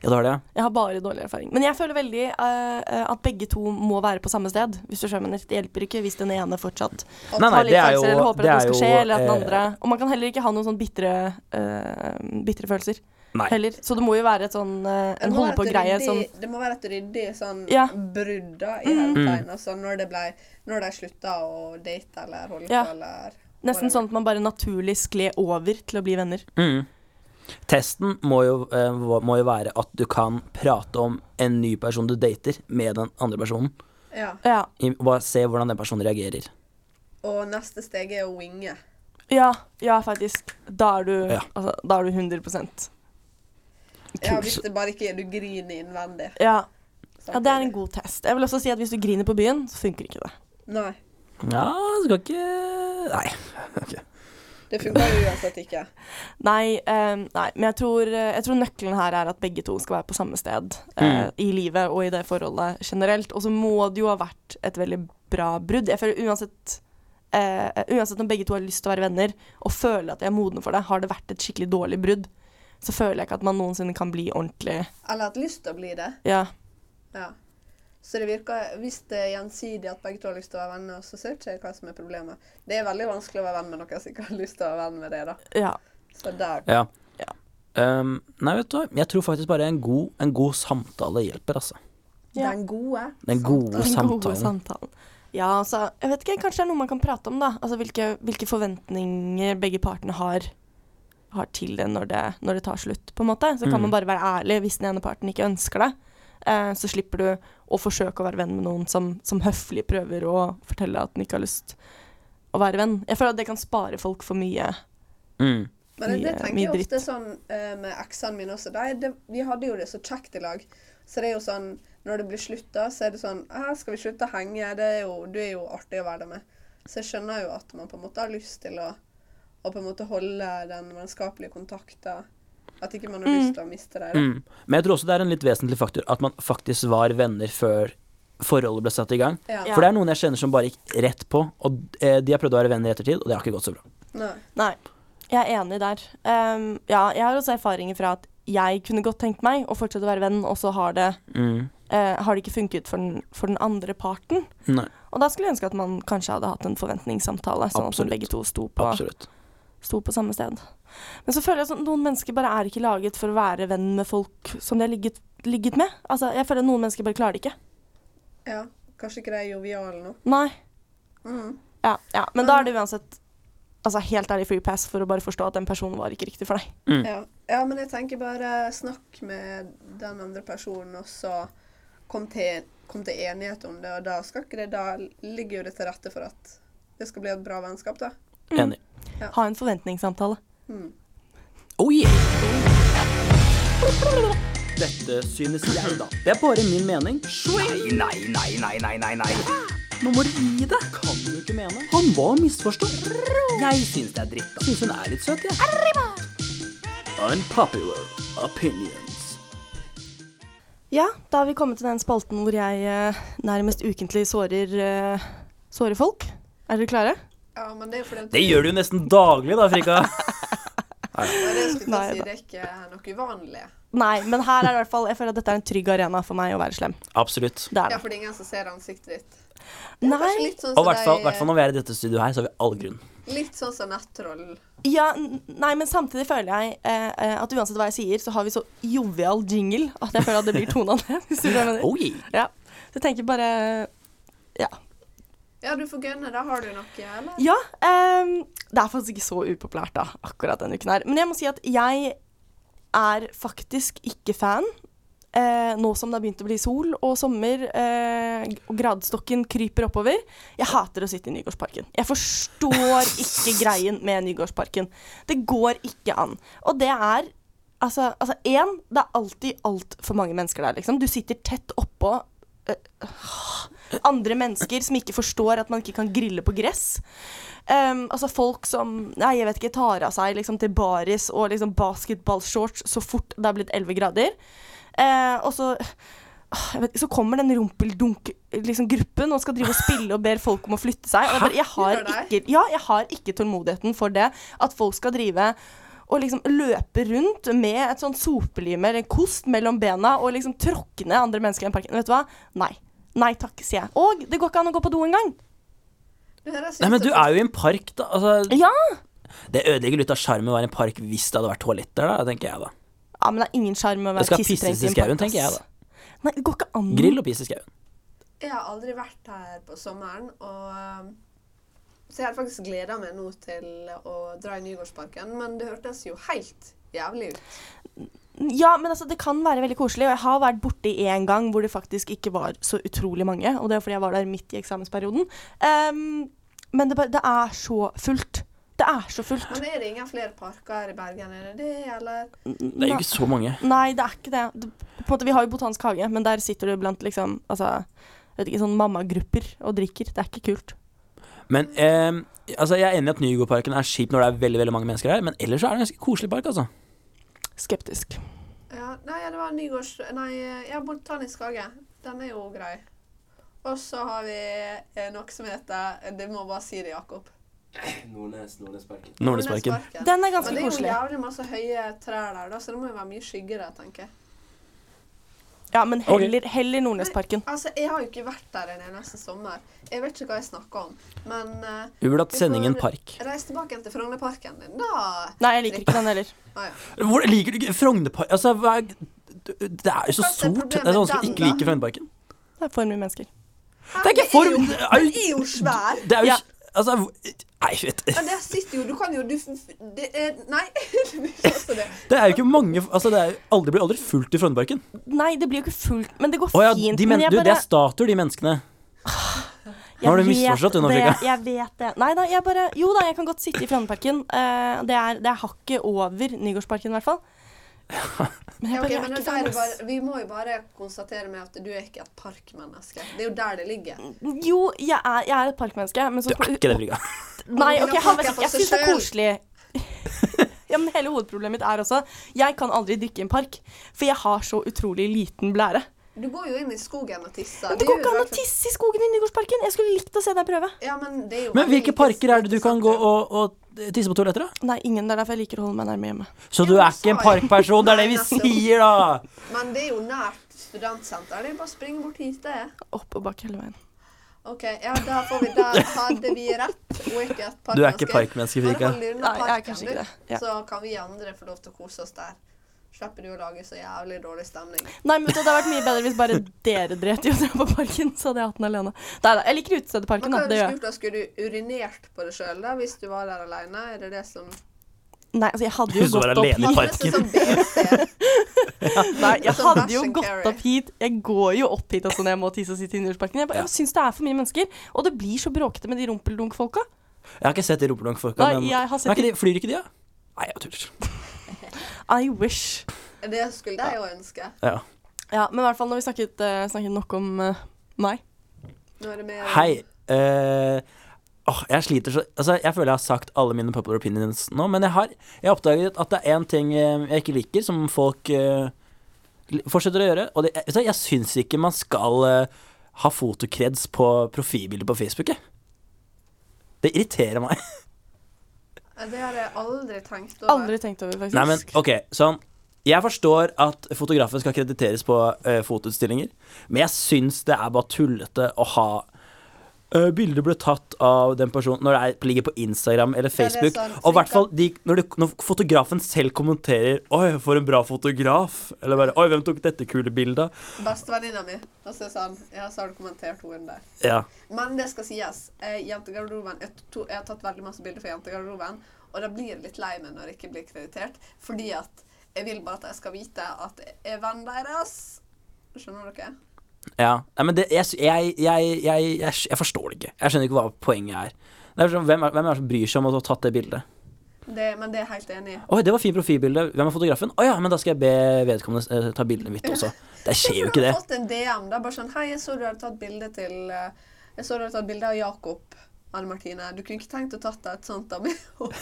S2: Ja, det var det, ja.
S4: Jeg har bare dårlig erfaring. Men jeg føler veldig eh, at begge to må være på samme sted. Hvis du skjønner, Det hjelper ikke hvis den ene fortsatt
S2: Nei, nei,
S4: har
S2: det
S4: litt
S2: er jo
S4: følelser eller håper
S2: det er
S4: at noe skal
S2: jo,
S4: skje, eller at den
S2: eh,
S4: andre Og man kan heller ikke ha noen sånn bitre, eh, bitre følelser
S2: Nei.
S4: heller. Så det må jo være et sånn, eh,
S1: Det
S4: en
S1: må være et
S4: holde-på-greie
S1: ryddig-
S4: som
S1: Det må være et ryddig sånn
S4: Ja. Mm.
S1: brudd, da, i hermetegn. Altså når, det ble, når de slutta å date eller holde
S4: Ja.
S1: på eller
S4: Nesten sånn at man bare naturlig skled over til å bli venner.
S2: Mm. Testen må jo, eh, hva- må jo være at du kan prate om en ny person du dater, med den andre personen.
S1: Ja.
S4: Ja.
S2: I- Bare se hvordan den personen reagerer.
S1: Og neste steg er å winge.
S4: Ja, ja faktisk. Da er du,
S2: Ja.
S4: altså, da er du 100
S1: Ja,
S2: Kult.
S1: hvis det bare ikke er du griner innvendig.
S4: ja. ja, det er en god test. Jeg vil også si at hvis du griner på byen, så funker ikke det.
S1: Nei.
S2: Ja, skal ikke Nei.
S1: Det funker jo uansett ikke.
S4: Nei, eh, nei men jeg tror, eh, jeg tror nøkkelen her er at begge to skal være på samme sted eh, i livet og i det forholdet generelt. Og så må det jo ha vært et veldig bra brudd. Jeg føler uansett eh, Uansett om begge to har lyst til å være venner og føler at de er modne for det, har det vært et skikkelig dårlig brudd, så føler jeg ikke at man noensinne kan bli ordentlig
S1: Eller hatt lyst til å bli det.
S4: Ja.
S1: Ja. Så det virker, hvis det er gjensidig at begge to har lyst til å være venner, så ser ikke jeg hva som er problemet. Det er veldig vanskelig å være venn med noen som ikke har lyst til å være venn med deg, da.
S4: ja.
S1: Så der.
S2: Ja. Um, nei, vet du hva. Jeg tror faktisk bare en god, en god samtale hjelper, altså.
S4: Ja.
S1: Den gode.
S2: Den gode
S4: Den gode
S2: samtalen.
S4: samtalen. Ja, altså, jeg vet ikke, kanskje det er noe man kan prate om, da. Altså hvilke, hvilke forventninger begge partene har, har til det når, det når det tar slutt, på en måte. Så kan
S2: Mm.
S4: man bare være ærlig hvis den ene parten ikke ønsker det. Eh, så slipper du å forsøke å være venn med noen som, som høflig prøver å fortelle at den ikke har lyst å være venn. Jeg føler at det kan spare folk for mye.
S2: Mm.
S1: Men det, det
S4: Mye-
S1: tenker
S4: mye
S1: jeg ofte
S4: dritt.
S1: sånn eh, med eksene mine også. De, det, vi hadde jo det så kjekt i lag. Så det er jo sånn Når det blir slutt, da, så er det sånn «Ah, Skal vi slutte å henge? Det er jo, du er jo artig å være der med. Så jeg skjønner jo at man på en måte har lyst til å, å på en måte holde den vennskapelige kontakten. At ikke man har lyst til å miste det. da.
S2: Mm. Men jeg tror også det er en litt vesentlig faktor at man faktisk var venner før forholdet ble satt i gang.
S1: Ja.
S4: Ja.
S2: For det er noen jeg kjenner som bare gikk rett på, og eh, de har prøvd å være venner i ettertid, og det har ikke gått så bra.
S1: Nei.
S4: Nei, jeg er enig der. Ehm, ja, jeg har også erfaringer fra at jeg kunne godt tenkt meg å fortsette å være venn, og så har det
S2: Mm.
S4: eh, har det ikke funket for den, for den andre parten.
S2: Nei,
S4: Og da skulle jeg ønske at man kanskje hadde hatt en forventningssamtale, sånn at
S2: Absolutt.
S4: man begge to sto på,
S2: absolutt.
S4: sto på samme sted. Men så føler jeg at sånn, noen mennesker bare er ikke laget for å være venn med folk som de har ligget, ligget med. Altså, jeg føler at noen mennesker bare klarer det ikke.
S1: Ja. Kanskje ikke de er joviale nå.
S4: Nei.
S1: Mm.
S4: Ja, ja. Men da er det uansett altså, helt ærlig free pass for å bare forstå at den personen var ikke riktig for deg.
S1: Ja. ja, men jeg tenker bare snakk med den andre personen, og så kom til, kom til enighet om det, og da skal ikke det Da ligger jo det til rette for at det skal bli et bra vennskap, da.
S2: Enig.
S4: Ha en forventningssamtale.
S2: Oh yeah! Dette synes jeg, da. Det er bare min mening. Nei, nei, nei, nei, nei, nei. Nå må du gi deg. Kan du ikke mene? Han var misforstått. Jeg synes det er dritt. da. Synes hun er litt søt, jeg. Unpopular opinions.
S4: Ja, da har vi kommet til den spalten hvor jeg eh, nærmest ukentlig sårer, eh, sårer folk. Er dere klare?
S1: Ja, men det er fordi at
S2: Det gjør du jo nesten daglig, da, Frika.
S1: Nei, det, skulle jeg
S4: Nei,
S1: si,
S4: da.
S1: det er ikke noe uvanlig.
S4: Nei, men her er det i hvert fall Jeg føler at dette er en trygg arena for meg å være slem.
S2: *laughs* Absolutt.
S4: Det er
S1: Ja,
S4: det.
S1: for det er ingen som ser ansiktet ditt. Kanskje
S4: Nei
S1: Litt sånn
S2: Og i
S1: som
S2: hvert fall
S1: de-
S2: hvert fall når vi er i dette studioet her, så har vi all grunn.
S1: Litt sånn som nettroll.
S4: ja, n- Nei, men samtidig føler jeg eh, eh, at uansett hva jeg sier, så har vi så jovial jingle at jeg føler at det *laughs* blir tona ned. Hvis du skjønner.
S2: Oh, yeah.
S4: Ja. Så jeg tenker bare Ja.
S1: Ja, du får gønne. Da har du noe, eller?
S4: ja ehm, det er faktisk ikke så upopulært da, akkurat denne uken her. Men jeg må si at jeg er faktisk ikke fan eh, nå som det har begynt å bli sol og sommer, eh, og gradstokken kryper oppover. Jeg hater å sitte i Nygårdsparken. Jeg forstår ikke greien med Nygårdsparken. Det går ikke an. Og det er Altså, altså én, det er alltid altfor mange mennesker der, liksom. Du sitter tett oppå eh, andre mennesker som ikke forstår at man ikke kan grille på gress. Ehm, altså folk som nei, jeg vet ikke, tar av seg liksom, til baris og liksom, basketballshorts så fort det er blitt 11 grader. Eh, og så, ah, jeg vet, ikke, så kommer den rumpeldunk-gruppen liksom, gruppen og skal drive og spille og ber folk om å flytte seg. Og jeg, bare, jeg, har
S1: Gjør
S4: ikke, ja, jeg har ikke tålmodigheten for det. At folk skal drive og liksom løpe rundt med et sånt sopelime eller en kost mellom bena og liksom tråkke ned andre mennesker i parken. Vet du hva? Nei. Nei takk, sier jeg. Og det går ikke an å gå på do engang.
S1: Det her sykt
S2: Nei, men du
S1: at-
S2: er jo i en park, da. Altså,
S4: Ja.
S2: det ødelegger litt av sjarmen å være i en park hvis det hadde vært toaletter der, da, tenker jeg da.
S4: ja, men det er ingen sjarm med å
S2: Det
S4: være
S2: skal pisses
S4: tissetrengt
S2: i
S4: i en
S2: skauen,
S4: park.
S2: tenker jeg
S4: ass.
S2: da.
S4: Nei, det går ikke an.
S2: Grill og piss i skauen.
S1: Jeg har aldri vært her på sommeren, og eh, så jeg hadde faktisk gleda meg nå til å dra i Nygårdsparken, men det hørtes jo helt jævlig ut.
S4: Ja, men altså, det kan være veldig koselig. Og jeg har vært borti én gang hvor det faktisk ikke var så utrolig mange. Og det er fordi jeg var der midt i eksamensperioden. Ehm, men det, bare- det er så fullt. Det er så fullt.
S1: Men er det ingen flere parker her i Bergen, er det det, eller?
S2: Det er jo ikke så mange.
S4: Nei, det er ikke det. det på en måte, vi har jo Botanisk hage, men der sitter du blant liksom, altså, vet ikke, sånn mammagrupper og drikker. Det er ikke kult.
S2: Men eh, altså, jeg er enig i at Nygårdparken er kjip når det er veldig veldig mange mennesker her, men ellers så er det en ganske koselig park, altså.
S4: Skeptisk.
S1: Ja, nei, ja, det var Nygårds... Nei, ja, Botanisk hage. Den er jo grei. Og så har vi eh, noe som heter Det må bare si det, Jakob.
S3: Nordnes, Nordnesparken.
S2: Nordnesparken.
S4: Den er
S1: Men
S4: ganske
S1: det er jo
S4: koselig.
S1: jævlig masse høye trær der, da, så det må jo være mye skygge der, tenker jeg.
S4: Ja, men heller, heller Nordnesparken.
S1: Altså, Jeg har jo ikke vært der en eneste sommer. Jeg vet ikke hva jeg snakker om. Men eh,
S2: Vi burde hatt
S1: Vi
S2: sendingen
S1: får-
S2: Park.
S1: reis tilbake til Frognerparken din, da.
S4: Nei, jeg liker ikke den heller.
S1: Ah, ja.
S2: Hvor liker du ikke Frognerpark Altså, hva er det er jo så
S1: Hva er
S2: stort. Det
S1: problemet
S2: er så vanskelig
S1: med
S2: å ikke
S1: den,
S2: like Frognerparken.
S4: Det er for mye mennesker.
S2: Det er ikke for
S1: jo-
S2: det er jo-
S1: Den er jo svær.
S2: Det er jo
S4: Ja.
S2: Altså Nei, vet
S1: Ja, der sitter jo Du kan jo du, det er, Nei. *laughs* det er ikke det.
S2: *laughs* Det er jo ikke mange Altså, det er jo aldri, blir aldri fullt i Frognerparken.
S4: Nei, det blir jo ikke fullt, men det går
S2: Å ja,
S4: fint.
S2: de men,
S4: men jeg
S2: du, det
S4: bare-
S2: er statuer, de menneskene. Nå har du
S4: Jeg vet
S2: misforstått, hun,
S4: det,
S2: Afrika.
S4: Jeg vet det. Nei da, jeg bare Jo da, jeg kan godt sitte i Frognerparken. Eh, det, er, det er hakket over Nygårdsparken, i hvert fall. Men
S1: Ja, ok,
S4: jeg bare
S1: men
S4: jeg er
S1: det
S4: ikke
S1: der
S4: fan,
S1: er
S4: ass.
S1: bare, vi må jo bare konstatere med at du er ikke et parkmenneske. Det er jo der det ligger.
S4: Jo, jeg er, jeg er et parkmenneske, men så
S2: Du er ikke det, Frigga.
S4: Nei,
S1: Men
S4: OK,
S1: da
S4: han
S1: parker jeg
S4: vet ikke.
S1: for
S4: Jeg syns
S1: seg
S4: det
S1: selv.
S4: er koselig. *laughs* Ja, men hele hovedproblemet mitt er også Jeg kan aldri drikke i en park, for jeg har så utrolig liten blære.
S1: Du går jo inn i skogen og tisser.
S4: Men det går
S1: gjør
S4: ikke
S1: du
S4: an
S1: i
S4: å
S1: hvert fall.
S4: tisse i skogen i Nygårdsparken! Jeg skulle likt å se deg prøve.
S1: Ja, men det er jo
S2: Men
S1: veldig
S2: hvilke
S1: lite
S2: parker er det du
S1: skog,
S2: kan gå
S1: sant?
S2: og, og tisse på toaletter, da?
S4: Nei, ingen. Det er derfor jeg liker å holde meg nærme hjemme.
S2: Så du er ikke en parkperson, det er det vi sier, da!
S1: Men det er jo nært studentsenter. Det er jo bare å springe bort hit, det.
S4: Opp og bak hele veien.
S1: OK, ja, da får vi Der hadde vi rett. Hun er ikke et parkmenneske.
S2: Du er ikke parkmenneske,
S1: Bare
S2: Frigga.
S1: hold deg unna
S4: Nei, jeg er
S1: parken,
S4: kanskje ikke det.
S1: du.
S4: Ja.
S1: Så kan vi andre få lov til å kose oss der. Slipper du å lage så jævlig dårlig stemning.
S4: Nei, men vet du, Det hadde vært mye bedre hvis bare dere dret i å dra på parken. Så hadde jeg hatt den alene. Nei da, jeg liker
S1: Men hva
S4: utestedeparken. da,
S1: hadde du
S4: Det gjør jeg.
S1: gjort da? Skulle du urinert på deg sjøl da, hvis du var der aleine? Er det det som
S4: Nei, altså, jeg hadde jo
S2: Hvis du var
S4: gått opp
S2: alene i
S4: hit.
S1: Masse
S2: parken.
S1: sånn BC.
S4: Nei, jeg
S1: Sånn
S4: hadde
S1: dash
S4: jo
S1: and carry.
S4: gått opp hit. Jeg går jo opp hit altså, når jeg må tisse og sitte i Innhjulsparken. Jeg, bare- jeg syns det er for mye mennesker. Og det blir så bråkete med de rumpeldunk-folka.
S2: Jeg har ikke sett de rumpedunkfolka,
S4: Nei,
S2: men
S4: jeg har sett
S2: men er ikke de, flyr ikke de, da? Nei, jeg tuller.
S4: I wish.
S1: Det skulle de jo ønske.
S2: Ja.
S4: Ja, Men i hvert fall når vi snakket, eh, snakket nok om eh, meg.
S1: Nå er det mer
S2: Hei. eh, åh, jeg sliter så Altså, jeg føler jeg har sagt alle mine popular opinions nå, men jeg har Jeg har oppdaget at det er én ting eh, jeg ikke liker, som folk eh, li- fortsetter å gjøre. Og det, jeg, vet du hva, jeg syns ikke man skal eh, ha fotokreds på profilbilder på Facebook, jeg. Det irriterer meg.
S1: Det har jeg aldri tenkt over.
S4: Aldri tenkt over, faktisk.
S2: Nei, men ok, sånn Jeg forstår at fotografen skal krediteres på eh, fotoutstillinger Men jeg synes det er bare tullete å ha eh, Bilder ble tatt av den personen Når det er, ligger på Instagram eller
S1: det er
S2: Facebook
S1: sant.
S2: Og i hvert fall de, når, du- når fotografen selv kommenterer Oi, for en bra fotograf Eller bare, oi, hvem tok dette kule bildet?
S1: Bestevenninna mi. Og så sa han Ja, så har du kommentert henne der.
S2: Ja,
S1: Men det skal sies. Eh, jentegarderoben, jeg, to, jeg har tatt veldig masse bilder for jentegarderoben, og da blir jeg litt lei meg når jeg ikke blir kreditert, fordi at jeg vil bare at jeg skal vite at jeg er venn deres, Skjønner dere?
S2: Ja, Nei, men det, jeg, sy- jeg, jeg, jeg, jeg, jeg forstår det ikke. Jeg skjønner ikke hva poenget er. Det er sånn, hvem, er hvem er det som bryr seg om å ha tatt det bildet?
S1: Det, men det er jeg helt enig i.
S2: Oi, det var fint profilbilde. Hvem er fotografen? Å ja, men da skal jeg be vedkommende eh, ta bildet mitt også. Det skjer jo ikke det.
S1: Jeg har fått en DM. Det er bare sånn Hei, jeg så du hadde tatt bilde til eh, Jeg så du hadde tatt bilde av Jakob. Anne Martine, du kunne ikke tenkt å tatt deg et sånt av meg? *laughs*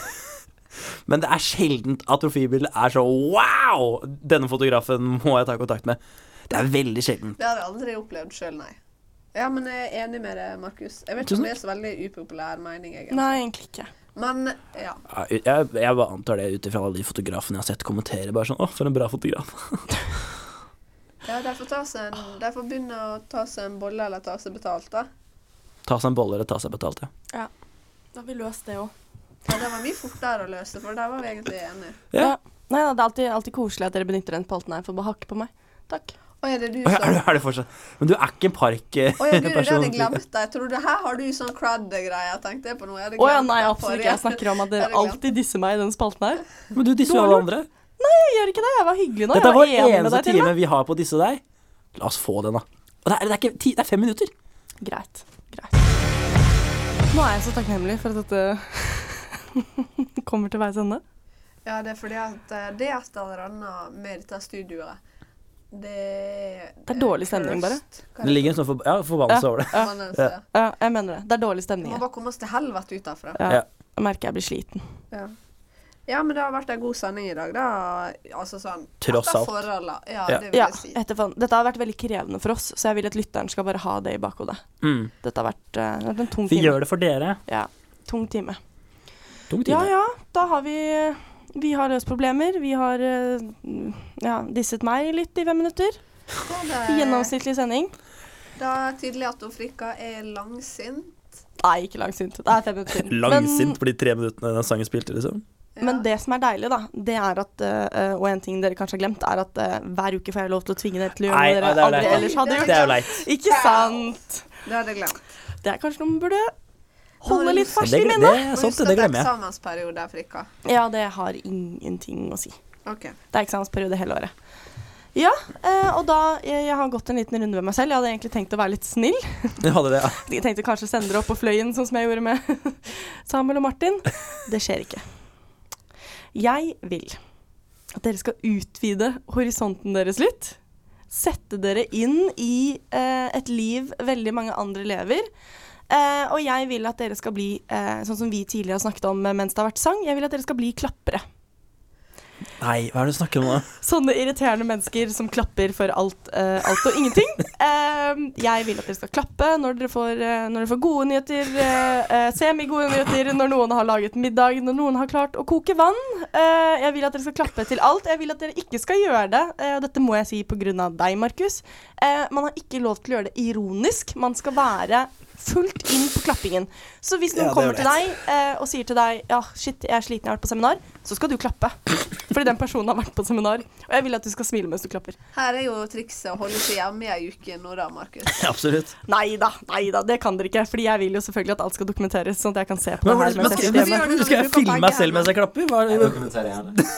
S2: Men det er sjeldent at profilbildet er så wow! Denne fotografen må jeg ta kontakt med. Det er veldig sjelden.
S1: Det har jeg aldri opplevd sjøl, nei. Ja, men jeg er enig med deg, Markus. Jeg vet ikke om det er så veldig upopulær mening, egentlig.
S4: Nei, egentlig ikke.
S1: Men ja.
S2: Ja, Jeg, jeg bare antar det ut ifra alle de fotografene jeg har sett kommentere. Bare sånn, å, for en bra fotograf.
S1: ja de får, ta seg en, de får begynne å ta seg en bolle eller ta seg betalt, da.
S2: Ta seg en bolle eller ta seg betalt, ja.
S4: Da har vi løst det òg.
S1: Ja, det var mye fortere å løse, for der var vi egentlig enige.
S2: Ja.
S4: Nei, da, det er alltid, alltid koselig at dere benytter den spalten her for å bare hakke på meg. Takk.
S1: Å, er det du
S2: Å, ja, er,
S1: som
S2: du, er du fortsatt Men du er ikke en
S1: Å
S2: eh,
S4: *laughs*
S1: ja, gud, det
S2: parkperson.
S1: hadde jeg glemt deg. Jeg trodde her har du sånn crud-greier. Tenkte jeg på noe. Jeg hadde
S4: Å ja,
S1: glemt
S4: nei,
S1: deg
S4: absolutt
S1: forrige.
S4: ikke. Jeg snakker om at
S1: Jeg *laughs*
S4: dere
S1: hadde glemt.
S4: alltid disser meg i den spalten her.
S2: men du disser jo alle andre.
S4: Jeg gjør ikke det. Jeg var hyggelig nå.
S2: Dette er
S4: jeg var
S2: vår
S4: enig med
S2: eneste
S4: deg til og
S2: time vi har på å disse deg. La oss få den, da. Og det, er, det, er ikke, ti, det er fem minutter.
S4: med. Greit. Greit. Nå er jeg så takknemlig for at dette *laughs* kommer til veis ende.
S1: Ja, det er fordi at eh, det er et eller annet med dette studioet. Det er
S4: Det er dårlig stemning, bare.
S2: Det ligger en sånn for, ja, forbannelse
S4: Ja.
S2: over det.
S1: Ja.
S2: Ja.
S4: Ja, jeg mener det. Det er dårlig
S1: Vi
S4: stemning.
S1: må
S4: her.
S1: bare komme oss til helvete ut derfra.
S4: Ja.
S2: Ja.
S4: Jeg merker jeg blir sliten.
S1: Ja. ja, men det har vært en god sending i dag, da. Altså sånn
S2: Tross
S1: etter
S2: alt.
S1: forholdene. Ja,
S2: Ja.
S1: det vil
S4: Ja,
S1: jeg si.
S4: etter faen. Dette har vært veldig krevende for oss, så jeg vil at lytteren skal bare ha det i bakhodet.
S2: Mm.
S4: Dette har vært, eh, det har vært en tung
S2: Vi
S4: time.
S2: gjør det for dere.
S4: Ja, tung time.
S2: Tung time.
S4: Ja ja, da har vi Vi har løst problemer. Vi har eh, ja, disset meg litt i fem minutter.
S1: Ja, det-
S4: I gjennomsnittlig sending.
S1: Da er det tydelig at hun Frikka er langsint.
S4: Nei, ikke langsint. Det er fem minutter siden.
S2: *laughs* Langsint på de tre minuttene den sangen spilte, liksom.
S1: Ja.
S4: Men det som er deilig, da, det er at eh, Og en ting dere kanskje har glemt, er at eh, hver uke får jeg lov til å tvinge dere til å gjøre
S2: Nei,
S4: noe
S2: nei, det er
S4: dere aldri
S2: leit.
S4: ellers hadde
S2: Det
S4: gjort.
S2: er jo leit.
S4: Ikke sant?
S1: Det hadde jeg glemt.
S4: Det er kanskje noe man burde
S1: Nå er
S4: holde
S1: det
S4: litt
S1: lyst-
S4: ferskt i
S2: gle-
S4: minnet.
S2: er
S1: Og
S2: sant,
S1: husk
S2: sånn det
S1: at
S2: glemmer jeg.
S1: eksamensperiode, Frikka.
S4: Ja, det har ingenting å si.
S1: OK.
S4: Det er eksamensperiode hele året. Ja, eh, og da jeg, jeg har gått en liten runde med meg selv. Jeg hadde egentlig tenkt å være litt snill.
S2: Jeg hadde det, ja.
S4: Jeg tenkte kanskje sende dere opp på fløyen, sånn som jeg gjorde med *laughs* Samuel og Martin. Det skjer ikke. Jeg vil at dere skal utvide horisonten deres litt. Sette dere inn i eh, et liv veldig mange andre lever. Eh, og jeg vil at dere skal bli, eh, sånn som vi tidligere har snakket om eh, mens det har vært sang, jeg vil at dere skal bli klappere.
S2: Nei, hva er det du snakker om nå?
S4: Sånne irriterende mennesker som klapper for alt, eh, alt og ingenting. Eh, jeg vil at dere skal klappe når dere får, eh, når dere får gode nyheter, uh, semigode nyheter, når noen har laget middag, når noen har klart å koke vann. Eh, jeg vil at dere skal klappe til alt. Jeg vil at dere ikke skal gjøre det, eh, og dette må jeg si pga. deg, Markus. Eh, man har ikke lov til å gjøre det ironisk. Man skal være fullt inn på klappingen. Så hvis
S2: Ja, det
S4: noen
S2: er
S4: kommer til
S2: greit.
S4: deg eh, og sier til deg ja, shit, jeg er sliten, jeg har vært på seminar, så skal du klappe. Fordi den personen har vært på seminar. Og jeg vil at du skal smile mens du klapper.
S1: Her er jo trikset å holde seg hjemme i ei uke nå, da, Markus.
S2: *laughs* Absolutt.
S4: Nei da, nei da, det kan dere ikke. Fordi jeg vil jo selvfølgelig at alt skal dokumenteres, sånn at jeg kan se på
S2: Men,
S4: det
S2: hva er
S4: her
S2: det-
S4: mens
S2: men,
S4: jeg
S2: skal,
S4: sitter
S2: men,
S1: men-
S4: hjemme.
S1: men-
S2: skal jeg filme meg selv mens jeg klapper? Hva er
S3: Jeg
S2: det?
S3: dokumenterer gjerne.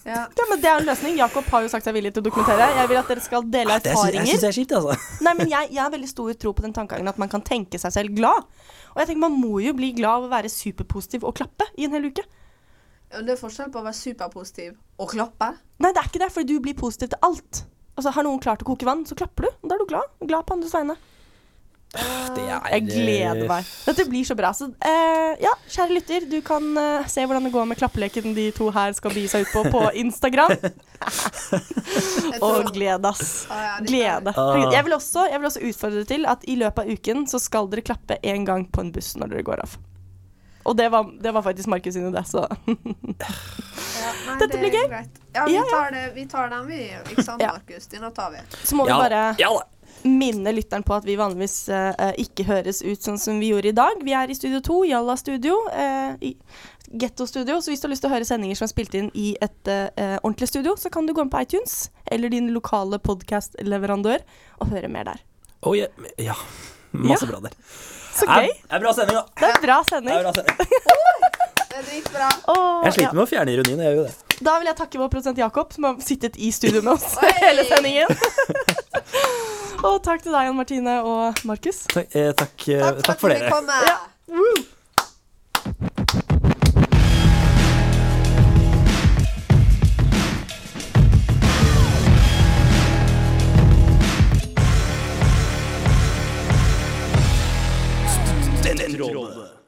S1: Ja.
S4: Ja, men Det er en løsning. Jakob har jo sagt seg villig til å dokumentere. Jeg vil at dere skal dele
S2: Det syns jeg, synes
S4: erfaringer.
S2: jeg er kjipt,
S4: *laughs*
S2: altså.
S4: Nei, men jeg, jeg har veldig stor tro på den tankegangen at man kan tenke seg selv glad. Og jeg tenker Man må jo bli glad av å være superpositiv og klappe i en hel uke.
S1: Og det er forskjell på å være superpositiv og klappe.
S4: Nei, det er ikke det, for du blir positiv til alt. Altså, Har noen klart å koke vann, så klapper du. og Da er du glad. Glad på andres vegne.
S2: Det er,
S4: Jeg gleder meg. Dette blir så bra. Så eh, ja, kjære lytter, du kan eh, se hvordan det går med klappeleken de to her skal begi seg ut på på Instagram.
S1: Jeg tror-
S4: Og gled, ass.
S1: Å, ja, det-
S4: Glede.
S2: Ah.
S4: Herregud, Jeg vil, også, jeg vil også utfordre dere til at i løpet av uken så skal dere klappe én gang på en buss når dere går av. Og det var, det var faktisk Markus sin idé, så *laughs*
S1: Ja, nei,
S4: Dette
S1: det
S4: blir
S1: er
S4: gøy.
S1: greit. Ja,
S4: Ja,
S1: vi
S4: ja.
S1: tar, det, vi tar den, vi. Ikke sant,
S4: Ja.
S1: Markus? Denne tar vi.
S4: Så må vi
S2: Ja,
S4: bare
S2: ja da.
S4: minne lytteren på at vi vanligvis eh, eh, ikke høres ut sånn som vi gjorde i dag. Vi er i Studio 2, Jalla Studio, eh, i Getto Studio. Så hvis du har lyst til å høre sendinger som er spilt inn i et eh, eh, ordentlig studio, så kan du gå inn på iTunes eller din lokale podkastleverandør og høre mer der.
S2: Oh, ja. ja. Masse bra der. Det
S4: Så gøy.
S2: er- det er bra sending, da.
S4: Det er en bra
S2: Det er
S4: sending.
S2: bra sending.
S1: Det gikk bra.
S2: Jeg
S4: Åh, ja.
S2: sliter med å fjerne ironien. Jeg gjør jo det.
S4: *laughs* Da vil jeg takke vår produsent Jakob, som har sittet i studio med oss
S1: Oi!
S4: hele sendingen. Og takk til deg, Anne Martine og Markus.
S2: Takk, eh, takk, eh, takk, for
S1: at vi
S2: dere.
S1: kom.
S2: Den tråden.